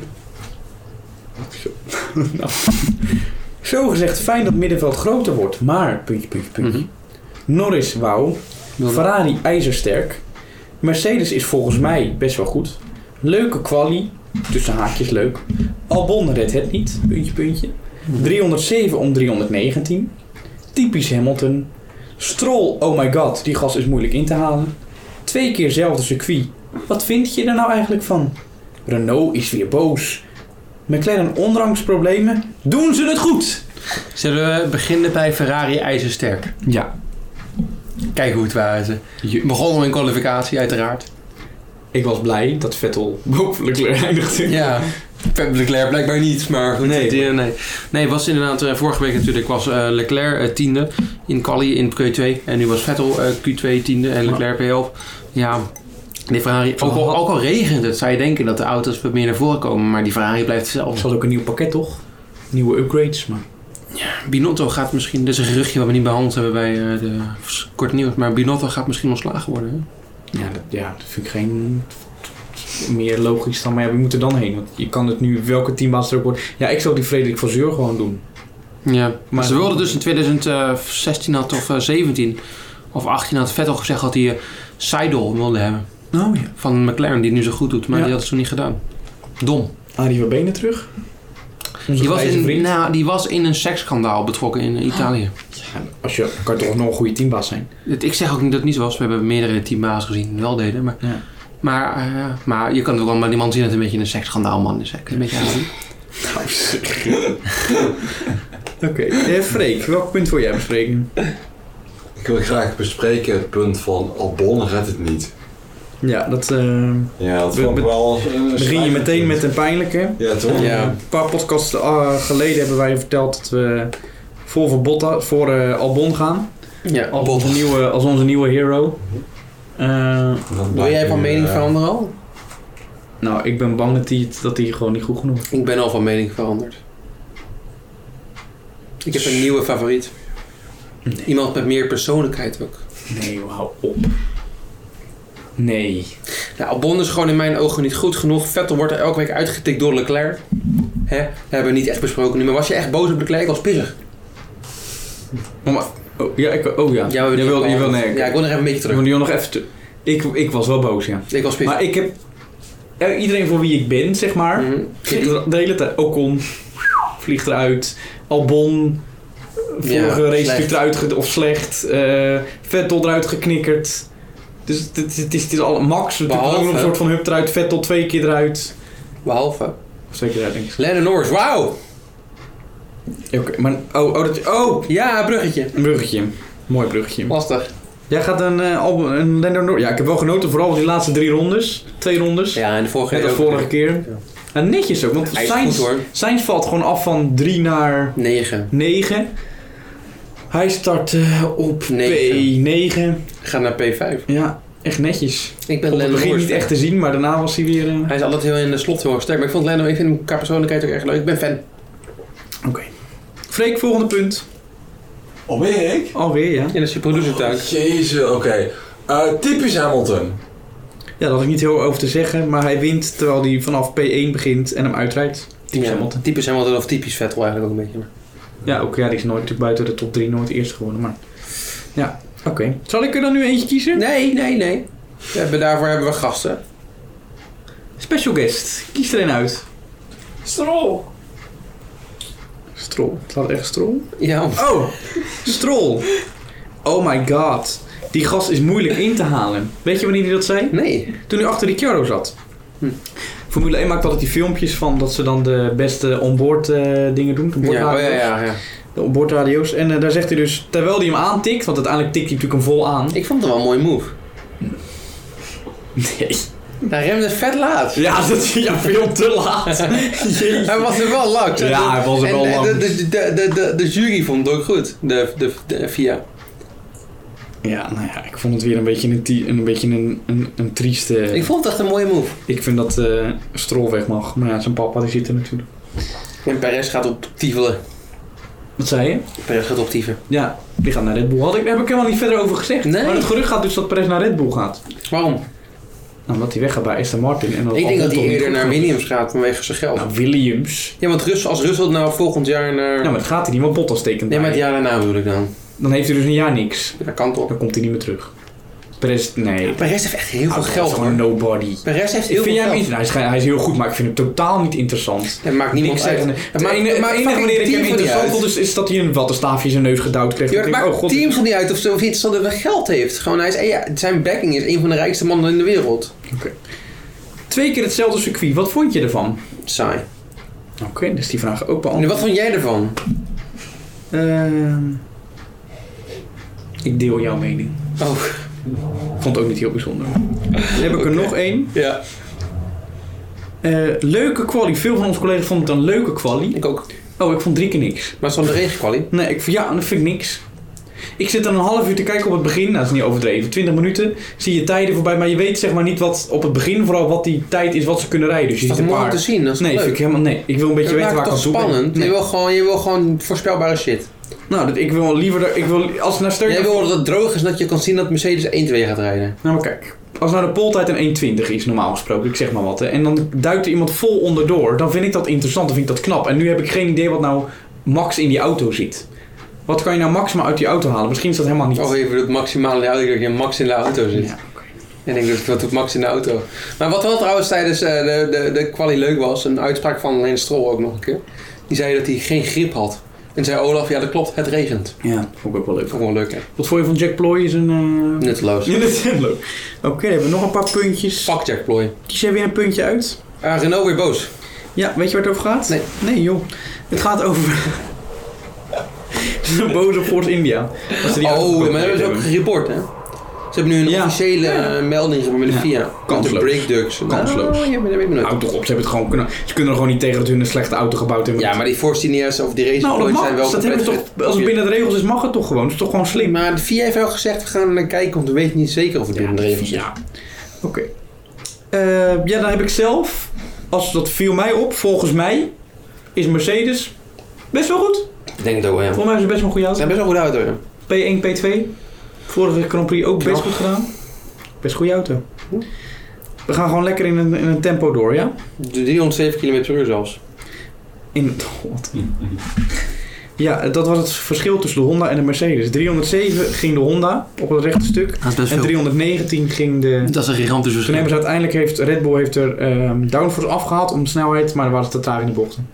[SPEAKER 3] Zo gezegd, fijn dat middenveld groter wordt. Maar, puntje, puntje, puntje. Norris, wauw. Ferrari, ijzersterk. Mercedes is volgens mij best wel goed. Leuke quali. Tussen haakjes leuk. Albon redt het niet. Puntje, puntje. 307 om 319. Typisch Hamilton. Stroll, oh my god, die gas is moeilijk in te halen. Twee keer zelfde circuit. Wat vind je er nou eigenlijk van? Renault is weer boos. McLaren ondanks problemen. Doen ze het goed?
[SPEAKER 2] Zullen we beginnen bij Ferrari ijzersterk?
[SPEAKER 3] Ja.
[SPEAKER 2] Kijk hoe het waren ze. Begonnen in kwalificatie, uiteraard.
[SPEAKER 3] Ik was blij dat Vettel boven Leclerc eindigde.
[SPEAKER 2] Ja, Pep Leclerc blijkbaar niet, maar goed.
[SPEAKER 3] Nee.
[SPEAKER 2] die- nee. nee, was inderdaad eh, vorige week natuurlijk was eh, Leclerc eh, tiende in quali in Q2 en nu was Vettel eh, Q2 tiende en Leclerc P11. Ja, die Ferrari. Ook al, ook al regent het, zou je denken dat de auto's wat meer naar voren komen, maar die Ferrari blijft
[SPEAKER 3] Ze
[SPEAKER 2] hetzelfde.
[SPEAKER 3] had ook een nieuw pakket, toch? Nieuwe upgrades, maar...
[SPEAKER 2] Binotto gaat misschien, dit is een geruchtje wat we niet behandeld hebben bij eh, de korte nieuws, maar Binotto gaat misschien ontslagen worden. Hè?
[SPEAKER 3] Ja, dat, ja, dat vind ik geen... Meer logisch dan, maar ja, we moeten dan heen. Want je kan het nu, welke teambaas er ook wordt... Ja, ik zou die Frederik van Zeur gewoon doen.
[SPEAKER 2] Ja, maar
[SPEAKER 3] Maar-
[SPEAKER 2] ze wilden dus in 2016 had, of eh, 17 of 18 had Vettel gezegd dat hij eh, Seidel wilde hebben.
[SPEAKER 3] Oh ja.
[SPEAKER 2] Van McLaren, die het nu zo goed doet, maar
[SPEAKER 3] Ja.
[SPEAKER 2] die had het toen niet gedaan. Dom.
[SPEAKER 3] Arie Verbenen terug. Onze
[SPEAKER 2] Die was,
[SPEAKER 3] grijze
[SPEAKER 2] in,
[SPEAKER 3] vriend.
[SPEAKER 2] nou, die was in een seksschandaal betrokken in Italië.
[SPEAKER 3] Ja, als je kan je toch nog een goede teambaas zijn.
[SPEAKER 2] Het- Ik zeg ook niet dat het niet zo was. We hebben meerdere teambaas gezien die het wel deden. Maar,
[SPEAKER 3] Ja.
[SPEAKER 2] maar, eh, maar je kan ook wel maar die man zien dat het een beetje een seksschandaal man is. hè. Een beetje aan
[SPEAKER 3] Oké. Eh, Freek, welk punt wil jij bespreken?
[SPEAKER 4] Ik wil graag bespreken het punt van Albon redt het niet.
[SPEAKER 3] Ja, dat... eh,
[SPEAKER 4] Ja, dat
[SPEAKER 3] Be-
[SPEAKER 4] vond ik
[SPEAKER 3] be-
[SPEAKER 4] wel een
[SPEAKER 3] begin je
[SPEAKER 4] schrijnend
[SPEAKER 3] meteen
[SPEAKER 4] punt.
[SPEAKER 3] met een pijnlijke.
[SPEAKER 4] Ja, toch?
[SPEAKER 2] Ja.
[SPEAKER 3] Een paar podcasts eh, geleden hebben wij verteld dat we vol voor, Botta, voor eh, Albon gaan.
[SPEAKER 2] ja,
[SPEAKER 3] Als onze nieuwe, als onze nieuwe hero. Eh,
[SPEAKER 4] Dat blijkt nu, eh,
[SPEAKER 2] veranderen al?
[SPEAKER 3] nou, ik ben bang dat hij dat die gewoon niet goed genoeg is.
[SPEAKER 2] Ik ben al van mening veranderd.
[SPEAKER 5] Ik heb een nieuwe favoriet. Iemand met meer persoonlijkheid ook.
[SPEAKER 3] Nee, joh, hou op. Nee.
[SPEAKER 5] Nou, Albon is gewoon in mijn ogen niet goed genoeg. Vettel wordt er elke week uitgetikt door Leclerc. Hè? Dat hebben we niet echt besproken nu. Maar was je echt boos op Leclerc? Ik was pissig.
[SPEAKER 3] Oh, ja, ik, oh ja.
[SPEAKER 5] Ja, we
[SPEAKER 3] je
[SPEAKER 5] hebben
[SPEAKER 3] wil,
[SPEAKER 5] die-
[SPEAKER 3] je wil, nee.
[SPEAKER 5] Ja, ik wil nog even een beetje
[SPEAKER 3] Ik
[SPEAKER 5] terug.
[SPEAKER 3] wil Dion nog even... te- Ik, ik was wel boos, ja.
[SPEAKER 5] Ik was pissig.
[SPEAKER 3] Maar ik heb... eh, Iedereen voor wie ik ben, zeg maar...
[SPEAKER 5] Mhm.
[SPEAKER 3] zit er De hele tijd... Ocon vliegt eruit. Albon... eh,
[SPEAKER 5] Ja,
[SPEAKER 3] Vorige race
[SPEAKER 5] slecht.
[SPEAKER 3] natuurlijk eruit... ge- Of slecht. eh, Vettel eruit geknikkerd. Dus het, het, het is, het is al... Max natuurlijk ook
[SPEAKER 5] Behalve-
[SPEAKER 3] nog een soort van hup eruit. Vettel twee keer eruit.
[SPEAKER 5] Behalve
[SPEAKER 3] Of twee keer eruit, denk ik.
[SPEAKER 5] Lennon Norris. Wauw!
[SPEAKER 3] Ja, Oké, maar... Oh, oh, dat... Oh!
[SPEAKER 5] Ja, bruggetje.
[SPEAKER 3] Een bruggetje. Mooi bruggetje.
[SPEAKER 5] Lastig.
[SPEAKER 3] Jij gaat een, eh album, een Lando Norris... Ja, ik heb wel genoten, vooral van die laatste drie rondes. Twee rondes.
[SPEAKER 5] Ja, en de vorige
[SPEAKER 3] Net als
[SPEAKER 5] ook.
[SPEAKER 3] vorige keer. En netjes ook, want
[SPEAKER 5] Hij is goed
[SPEAKER 3] Sainz,
[SPEAKER 5] hoor.
[SPEAKER 3] Sainz valt gewoon af van 3 naar
[SPEAKER 5] 9.
[SPEAKER 3] 9. Hij start eh, op
[SPEAKER 5] Negen.
[SPEAKER 3] P9.
[SPEAKER 5] Gaat naar P5.
[SPEAKER 3] Ja, echt netjes.
[SPEAKER 5] Ik ben
[SPEAKER 3] Op het
[SPEAKER 5] Lennon
[SPEAKER 3] begin
[SPEAKER 5] Norris.
[SPEAKER 3] niet echt te zien, maar daarna was hij weer... eh,
[SPEAKER 5] Hij is altijd heel in de slot heel erg sterk. Maar ik vond Lennon, ik vind hem qua persoonlijkheid ook erg leuk. Ik ben fan.
[SPEAKER 3] Freek, volgende punt.
[SPEAKER 4] Oh, ben ik?
[SPEAKER 3] Alweer, ja.
[SPEAKER 5] In de superproducer tank.
[SPEAKER 4] Jezus, oké. Eh, typisch Hamilton.
[SPEAKER 3] Ja, daar had ik niet heel over te zeggen, maar hij wint terwijl hij vanaf P1 begint en hem uitrijdt. Typisch Hamilton.
[SPEAKER 5] Typisch Hamilton of typisch Vettel eigenlijk ook een beetje.
[SPEAKER 3] Ja, ook ja, die is nooit natuurlijk buiten de top 3 nooit eerst geworden, maar... Ja, oké. Zal ik er dan nu eentje kiezen?
[SPEAKER 5] Nee, nee, nee. We hebben, daarvoor hebben we gasten.
[SPEAKER 3] Special guest. Kies er een uit.
[SPEAKER 5] Strol.
[SPEAKER 3] Strol. Het had echt strol.
[SPEAKER 5] Ja,
[SPEAKER 3] Oh, strol. Oh my god. Die gast is moeilijk in te halen. Weet je wanneer hij dat zei?
[SPEAKER 5] nee.
[SPEAKER 3] Toen hij achter Ricciardo zat.
[SPEAKER 5] Hm.
[SPEAKER 3] Formule 1 maakt altijd die filmpjes van dat ze dan de beste onboard eh, dingen doen. De
[SPEAKER 5] Ja, oh,
[SPEAKER 3] boordradio's.
[SPEAKER 5] ja, ja, ja.
[SPEAKER 3] De onboardradio's. En eh, daar zegt hij dus, terwijl hij hem aantikt, want uiteindelijk tikt hij natuurlijk hem vol aan.
[SPEAKER 5] Ik vond het wel een mooie move.
[SPEAKER 3] Nee.
[SPEAKER 5] Hij remde vet laat.
[SPEAKER 3] Ja, dat is ja, veel te laat. Jeetje.
[SPEAKER 5] Hij was er wel lang.
[SPEAKER 3] Ja, hij was er wel
[SPEAKER 5] en
[SPEAKER 3] lang.
[SPEAKER 5] De, de, de, de, de, de jury vond het ook goed. De, de, de FIA.
[SPEAKER 3] Ja, nou ja, ik vond het weer een beetje een, ti- een, beetje een, een, een trieste...
[SPEAKER 5] Ik vond het echt een mooie move.
[SPEAKER 3] Ik vind dat eh Strol weg mag. Maar ja, zijn papa die zit er natuurlijk.
[SPEAKER 5] En Perez gaat op tievelen.
[SPEAKER 3] Wat zei je?
[SPEAKER 5] Perez gaat op tieven.
[SPEAKER 3] Ja, die gaat naar Red Bull. Had ik, daar heb ik helemaal niet verder over gezegd.
[SPEAKER 5] Nee.
[SPEAKER 3] Maar het gerucht gaat dus dat Perez naar Red Bull gaat.
[SPEAKER 5] Waarom?
[SPEAKER 3] Nou, omdat hij weggaat bij Aston Martin. En
[SPEAKER 5] Ik denk dat hij
[SPEAKER 3] hij
[SPEAKER 5] eerder naar Williams gaat vanwege zijn geld.
[SPEAKER 3] Naar Nou, Williams.
[SPEAKER 5] Ja, want Rus, als Russell nou volgend jaar naar...
[SPEAKER 3] Nou, maar dat gaat hij niet, want Bottas tekent
[SPEAKER 5] nee, maar het
[SPEAKER 3] bij.
[SPEAKER 5] jaar daarna bedoel ik dan.
[SPEAKER 3] Dan heeft hij dus een jaar niks.
[SPEAKER 5] Dat kan toch.
[SPEAKER 3] Dan komt hij niet meer terug. Perez, nee.
[SPEAKER 5] Perez heeft echt heel veel
[SPEAKER 3] Hij Ah, is
[SPEAKER 5] geld.
[SPEAKER 3] gewoon
[SPEAKER 5] hoor.
[SPEAKER 3] een nobody.
[SPEAKER 5] Perez heeft
[SPEAKER 3] Ik
[SPEAKER 5] heel
[SPEAKER 3] vind jij
[SPEAKER 5] veel
[SPEAKER 3] hem niet...
[SPEAKER 5] geld.
[SPEAKER 3] nou, hij, is, ge- hij is heel goed, maar ik vind hem totaal niet interessant.
[SPEAKER 5] Het maakt niemand
[SPEAKER 3] Niks
[SPEAKER 5] uit.
[SPEAKER 3] uit.
[SPEAKER 5] Het
[SPEAKER 3] Maar
[SPEAKER 5] maakt
[SPEAKER 3] enige, maar enige wanneer ik hem interessant vond, is, is dat hij een wattenstaafje in zijn neus gedouwd kreeg.
[SPEAKER 5] Ja,
[SPEAKER 3] Dan
[SPEAKER 5] het
[SPEAKER 3] denk ik,
[SPEAKER 5] maakt
[SPEAKER 3] oh, god,
[SPEAKER 5] teams van niet uit of, ze- of hij interessant dat geld heeft. Gewoon, hij is, ja, zijn backing is een van de rijkste mannen in de wereld.
[SPEAKER 3] Twee keer hetzelfde circuit. Wat vond je ervan?
[SPEAKER 5] Saai.
[SPEAKER 3] Oké, dus die vraag ook
[SPEAKER 5] En
[SPEAKER 3] beantwoord.
[SPEAKER 5] wat vond jij ervan?
[SPEAKER 3] Ehm, ik deel jouw mening.
[SPEAKER 5] Oh,
[SPEAKER 3] Ik vond het ook niet heel bijzonder. Dan heb ik er nog één.
[SPEAKER 5] ja.
[SPEAKER 3] Eh, leuke quali. Veel van onze collega's vonden het een leuke quali.
[SPEAKER 5] Ik ook.
[SPEAKER 3] Oh, ik vond drie keer niks.
[SPEAKER 5] Maar het stond de regenkwaliteit.
[SPEAKER 3] Nee, ik, ja, dat vind ik niks. Ik zit dan een half uur te kijken op het begin. Nou, dat is niet overdreven. 20 minuten zie je tijden voorbij. Maar je weet zeg maar niet wat op het begin vooral wat die tijd is wat ze kunnen rijden. Dus je
[SPEAKER 5] Dat
[SPEAKER 3] ziet
[SPEAKER 5] is
[SPEAKER 3] een
[SPEAKER 5] mooi om
[SPEAKER 3] paar...
[SPEAKER 5] te zien. Dat is
[SPEAKER 3] Nee,
[SPEAKER 5] leuk.
[SPEAKER 3] vind ik helemaal... Nee, ik wil een beetje
[SPEAKER 5] Dat
[SPEAKER 3] weten
[SPEAKER 5] maakt
[SPEAKER 3] waar
[SPEAKER 5] het
[SPEAKER 3] ik
[SPEAKER 5] toch
[SPEAKER 3] aan toe ben.
[SPEAKER 5] spannend?
[SPEAKER 3] Nee.
[SPEAKER 5] Je, wil gewoon, je wil gewoon voorspelbare shit.
[SPEAKER 3] Nou, dat, ik wil liever... dat- Ik wil, als naar Sterk
[SPEAKER 5] Jij wil dat het droog is dat je kan zien dat Mercedes 1-2 gaat rijden.
[SPEAKER 3] Nou, maar kijk. Als nou de poltijd een 1.20 is, normaal gesproken, ik zeg maar wat, hè, en dan duikt er iemand vol onderdoor, dan vind ik dat interessant, dan vind ik dat knap. En nu heb ik geen idee wat nou Max in die auto zit. Wat kan je nou maximaal uit die auto halen? Misschien is dat helemaal niet.
[SPEAKER 5] Oh, even het maximale in de auto, dat je Max in de auto zit.
[SPEAKER 3] Ja, oké.
[SPEAKER 5] En ik denk dus, wat doet Max in de auto? Maar wat wel trouwens tijdens eh, de, de, de kwalie leuk was, een uitspraak van Len Strol ook nog een keer. Die zei dat hij geen grip had. En zei Olaf, ja dat klopt, het regent.
[SPEAKER 3] ja, vond ik ook wel leuk.
[SPEAKER 5] Vond ik wel leuk hè.
[SPEAKER 3] Wat vond je van Jack Ploy is een... eh
[SPEAKER 5] Nutteloos.
[SPEAKER 3] Ja, dat is heel leuk. Oké, dan hebben we nog een paar puntjes.
[SPEAKER 5] Fuck Jack Ploy.
[SPEAKER 3] Kies jij weer een puntje uit?
[SPEAKER 5] Ah, Renault weer boos.
[SPEAKER 3] Ja, weet je waar het over gaat?
[SPEAKER 5] Nee.
[SPEAKER 3] Nee, joh. Het gaat over... de boze Force India. Dat ze die auto
[SPEAKER 5] Oh,
[SPEAKER 3] gekocht
[SPEAKER 5] maar dat is ook
[SPEAKER 3] hebben.
[SPEAKER 5] gereport hè. Ze hebben nu een
[SPEAKER 3] Ja.
[SPEAKER 5] officiële eh, melding gemaakt met de
[SPEAKER 3] Ja.
[SPEAKER 5] FIA. Met de
[SPEAKER 3] Kansloos.
[SPEAKER 5] breakducks.
[SPEAKER 3] Kansloos.
[SPEAKER 5] Oh, ja, maar dat weet ik nooit.
[SPEAKER 3] Houd toch op, ze hebben het gewoon kunnen. Ze kunnen er gewoon niet tegen dat hun een slechte auto gebouwd hebben.
[SPEAKER 5] Ja, maar die Force India's of die race
[SPEAKER 3] nou, dat
[SPEAKER 5] points zijn wel
[SPEAKER 3] mag. Dat hebben we
[SPEAKER 5] compleet
[SPEAKER 3] toch, als het binnen de regels is, mag het toch gewoon. Het is toch gewoon slim.
[SPEAKER 5] Maar de FIA heeft wel gezegd, we gaan naar kijken, want we weten niet zeker of het binnen de regels is.
[SPEAKER 3] Ja. Oké. Eh, ja, dan heb ik zelf, als dat viel mij op, volgens mij is Mercedes best wel goed.
[SPEAKER 5] Ik denk het ook wel, ja.
[SPEAKER 3] Volgens mij is het best wel een goede auto.
[SPEAKER 5] Het zijn best wel goede auto's, ja.
[SPEAKER 3] P1, P2. Vorige Grand Prix ook best goed gedaan. Best goede auto. We gaan gewoon lekker in een, in een tempo door, ja?
[SPEAKER 5] De 307 km per uur zelfs.
[SPEAKER 3] In, God. Ja, dat was het verschil tussen de Honda en de Mercedes. 307 ging de Honda op het rechte stuk.
[SPEAKER 2] Dat is best
[SPEAKER 3] En
[SPEAKER 2] veel.
[SPEAKER 3] 319 ging de...
[SPEAKER 2] Dat is een gigantisch
[SPEAKER 3] Toen
[SPEAKER 2] verschil.
[SPEAKER 3] hebben ze uiteindelijk... Heeft, Red Bull heeft er ehm, downforce afgehaald om de snelheid, maar er waren ze te traag in de bochten.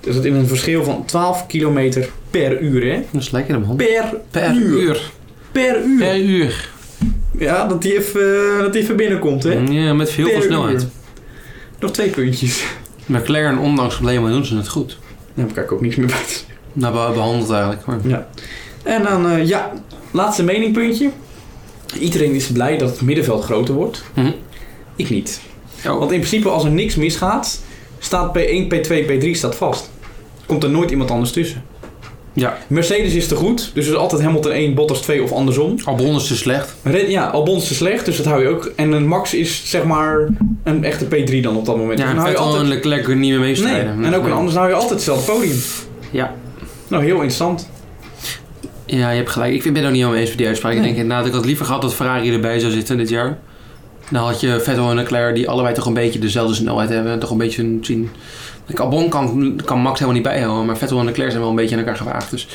[SPEAKER 3] Dus dat in een verschil van 12 kilometer per uur, hè?
[SPEAKER 2] Dat is lekker, man.
[SPEAKER 3] Per,
[SPEAKER 2] Per
[SPEAKER 3] uur.
[SPEAKER 2] uur.
[SPEAKER 3] Per uur.
[SPEAKER 2] Per uur.
[SPEAKER 3] Ja, dat die even, eh, dat die even binnenkomt, hè?
[SPEAKER 2] Ja, met heel
[SPEAKER 3] Per
[SPEAKER 2] veel
[SPEAKER 3] uur.
[SPEAKER 2] snelheid.
[SPEAKER 3] Nog twee puntjes.
[SPEAKER 2] McLaren, ondanks problemen, doen ze het goed.
[SPEAKER 3] Daar heb ik ook niks meer bij. te zeggen.
[SPEAKER 2] Nou, be- behandeld eigenlijk. Maar...
[SPEAKER 3] En dan, eh, ja, laatste meningpuntje. Iedereen is blij dat het middenveld groter wordt.
[SPEAKER 2] Mhm.
[SPEAKER 3] Ik niet.
[SPEAKER 2] Oh.
[SPEAKER 3] Want in principe, als er niks misgaat, staat P1, P2, P3 staat vast. Komt er nooit iemand anders tussen.
[SPEAKER 2] Ja.
[SPEAKER 3] Mercedes is te goed, dus er is altijd Hamilton 1, Bottas 2 of andersom.
[SPEAKER 2] Albon is te slecht.
[SPEAKER 3] Red, ja, Albon is te slecht, dus dat hou je ook. En een Max is zeg maar een echte P3 dan op dat moment.
[SPEAKER 2] Ja,
[SPEAKER 3] Dus
[SPEAKER 2] en
[SPEAKER 3] dan hou je
[SPEAKER 2] Vettel en Leclerc kunnen niet meer
[SPEAKER 3] Nee,
[SPEAKER 2] meestrijden.
[SPEAKER 3] en ook een anders hou je altijd hetzelfde podium.
[SPEAKER 2] Ja.
[SPEAKER 3] Nou, heel interessant.
[SPEAKER 2] Ja, je hebt gelijk. Ik ben het ook niet helemaal eens met die uitspraak.
[SPEAKER 3] Nee.
[SPEAKER 2] Ik denk inderdaad, ik had liever gehad dat Ferrari erbij zou zitten dit jaar. Dan had je Vettel en Leclerc, die allebei toch een beetje dezelfde snelheid hebben. En toch een beetje hun zien... Kijk, Albon kan, kan Max helemaal niet bijhouden, maar Vettel en Leclerc zijn wel een beetje aan elkaar gewaagd. Dus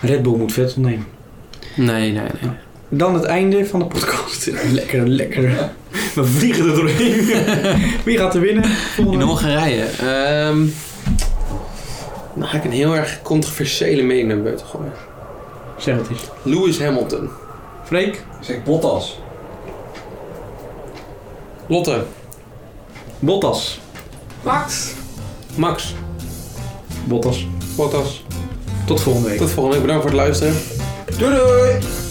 [SPEAKER 3] Red Bull moet Vettel nemen.
[SPEAKER 2] nee, nee, nee.
[SPEAKER 3] Dan het einde van de podcast. Lekker, lekker. We vliegen er doorheen. Wie gaat er winnen?
[SPEAKER 5] In
[SPEAKER 3] Volgende.
[SPEAKER 5] Hongarije. ehm nou ga ik een heel erg controversiële mening naar buiten gooien.
[SPEAKER 3] Zeg het eens.
[SPEAKER 5] Lewis Hamilton.
[SPEAKER 3] Freek,
[SPEAKER 4] Zeg Bottas.
[SPEAKER 5] Lotte.
[SPEAKER 3] Bottas.
[SPEAKER 5] Max. Max.
[SPEAKER 3] Bottas.
[SPEAKER 5] Bottas.
[SPEAKER 3] Tot volgende week.
[SPEAKER 5] Tot volgende week. Bedankt voor het luisteren.
[SPEAKER 4] Doei doei!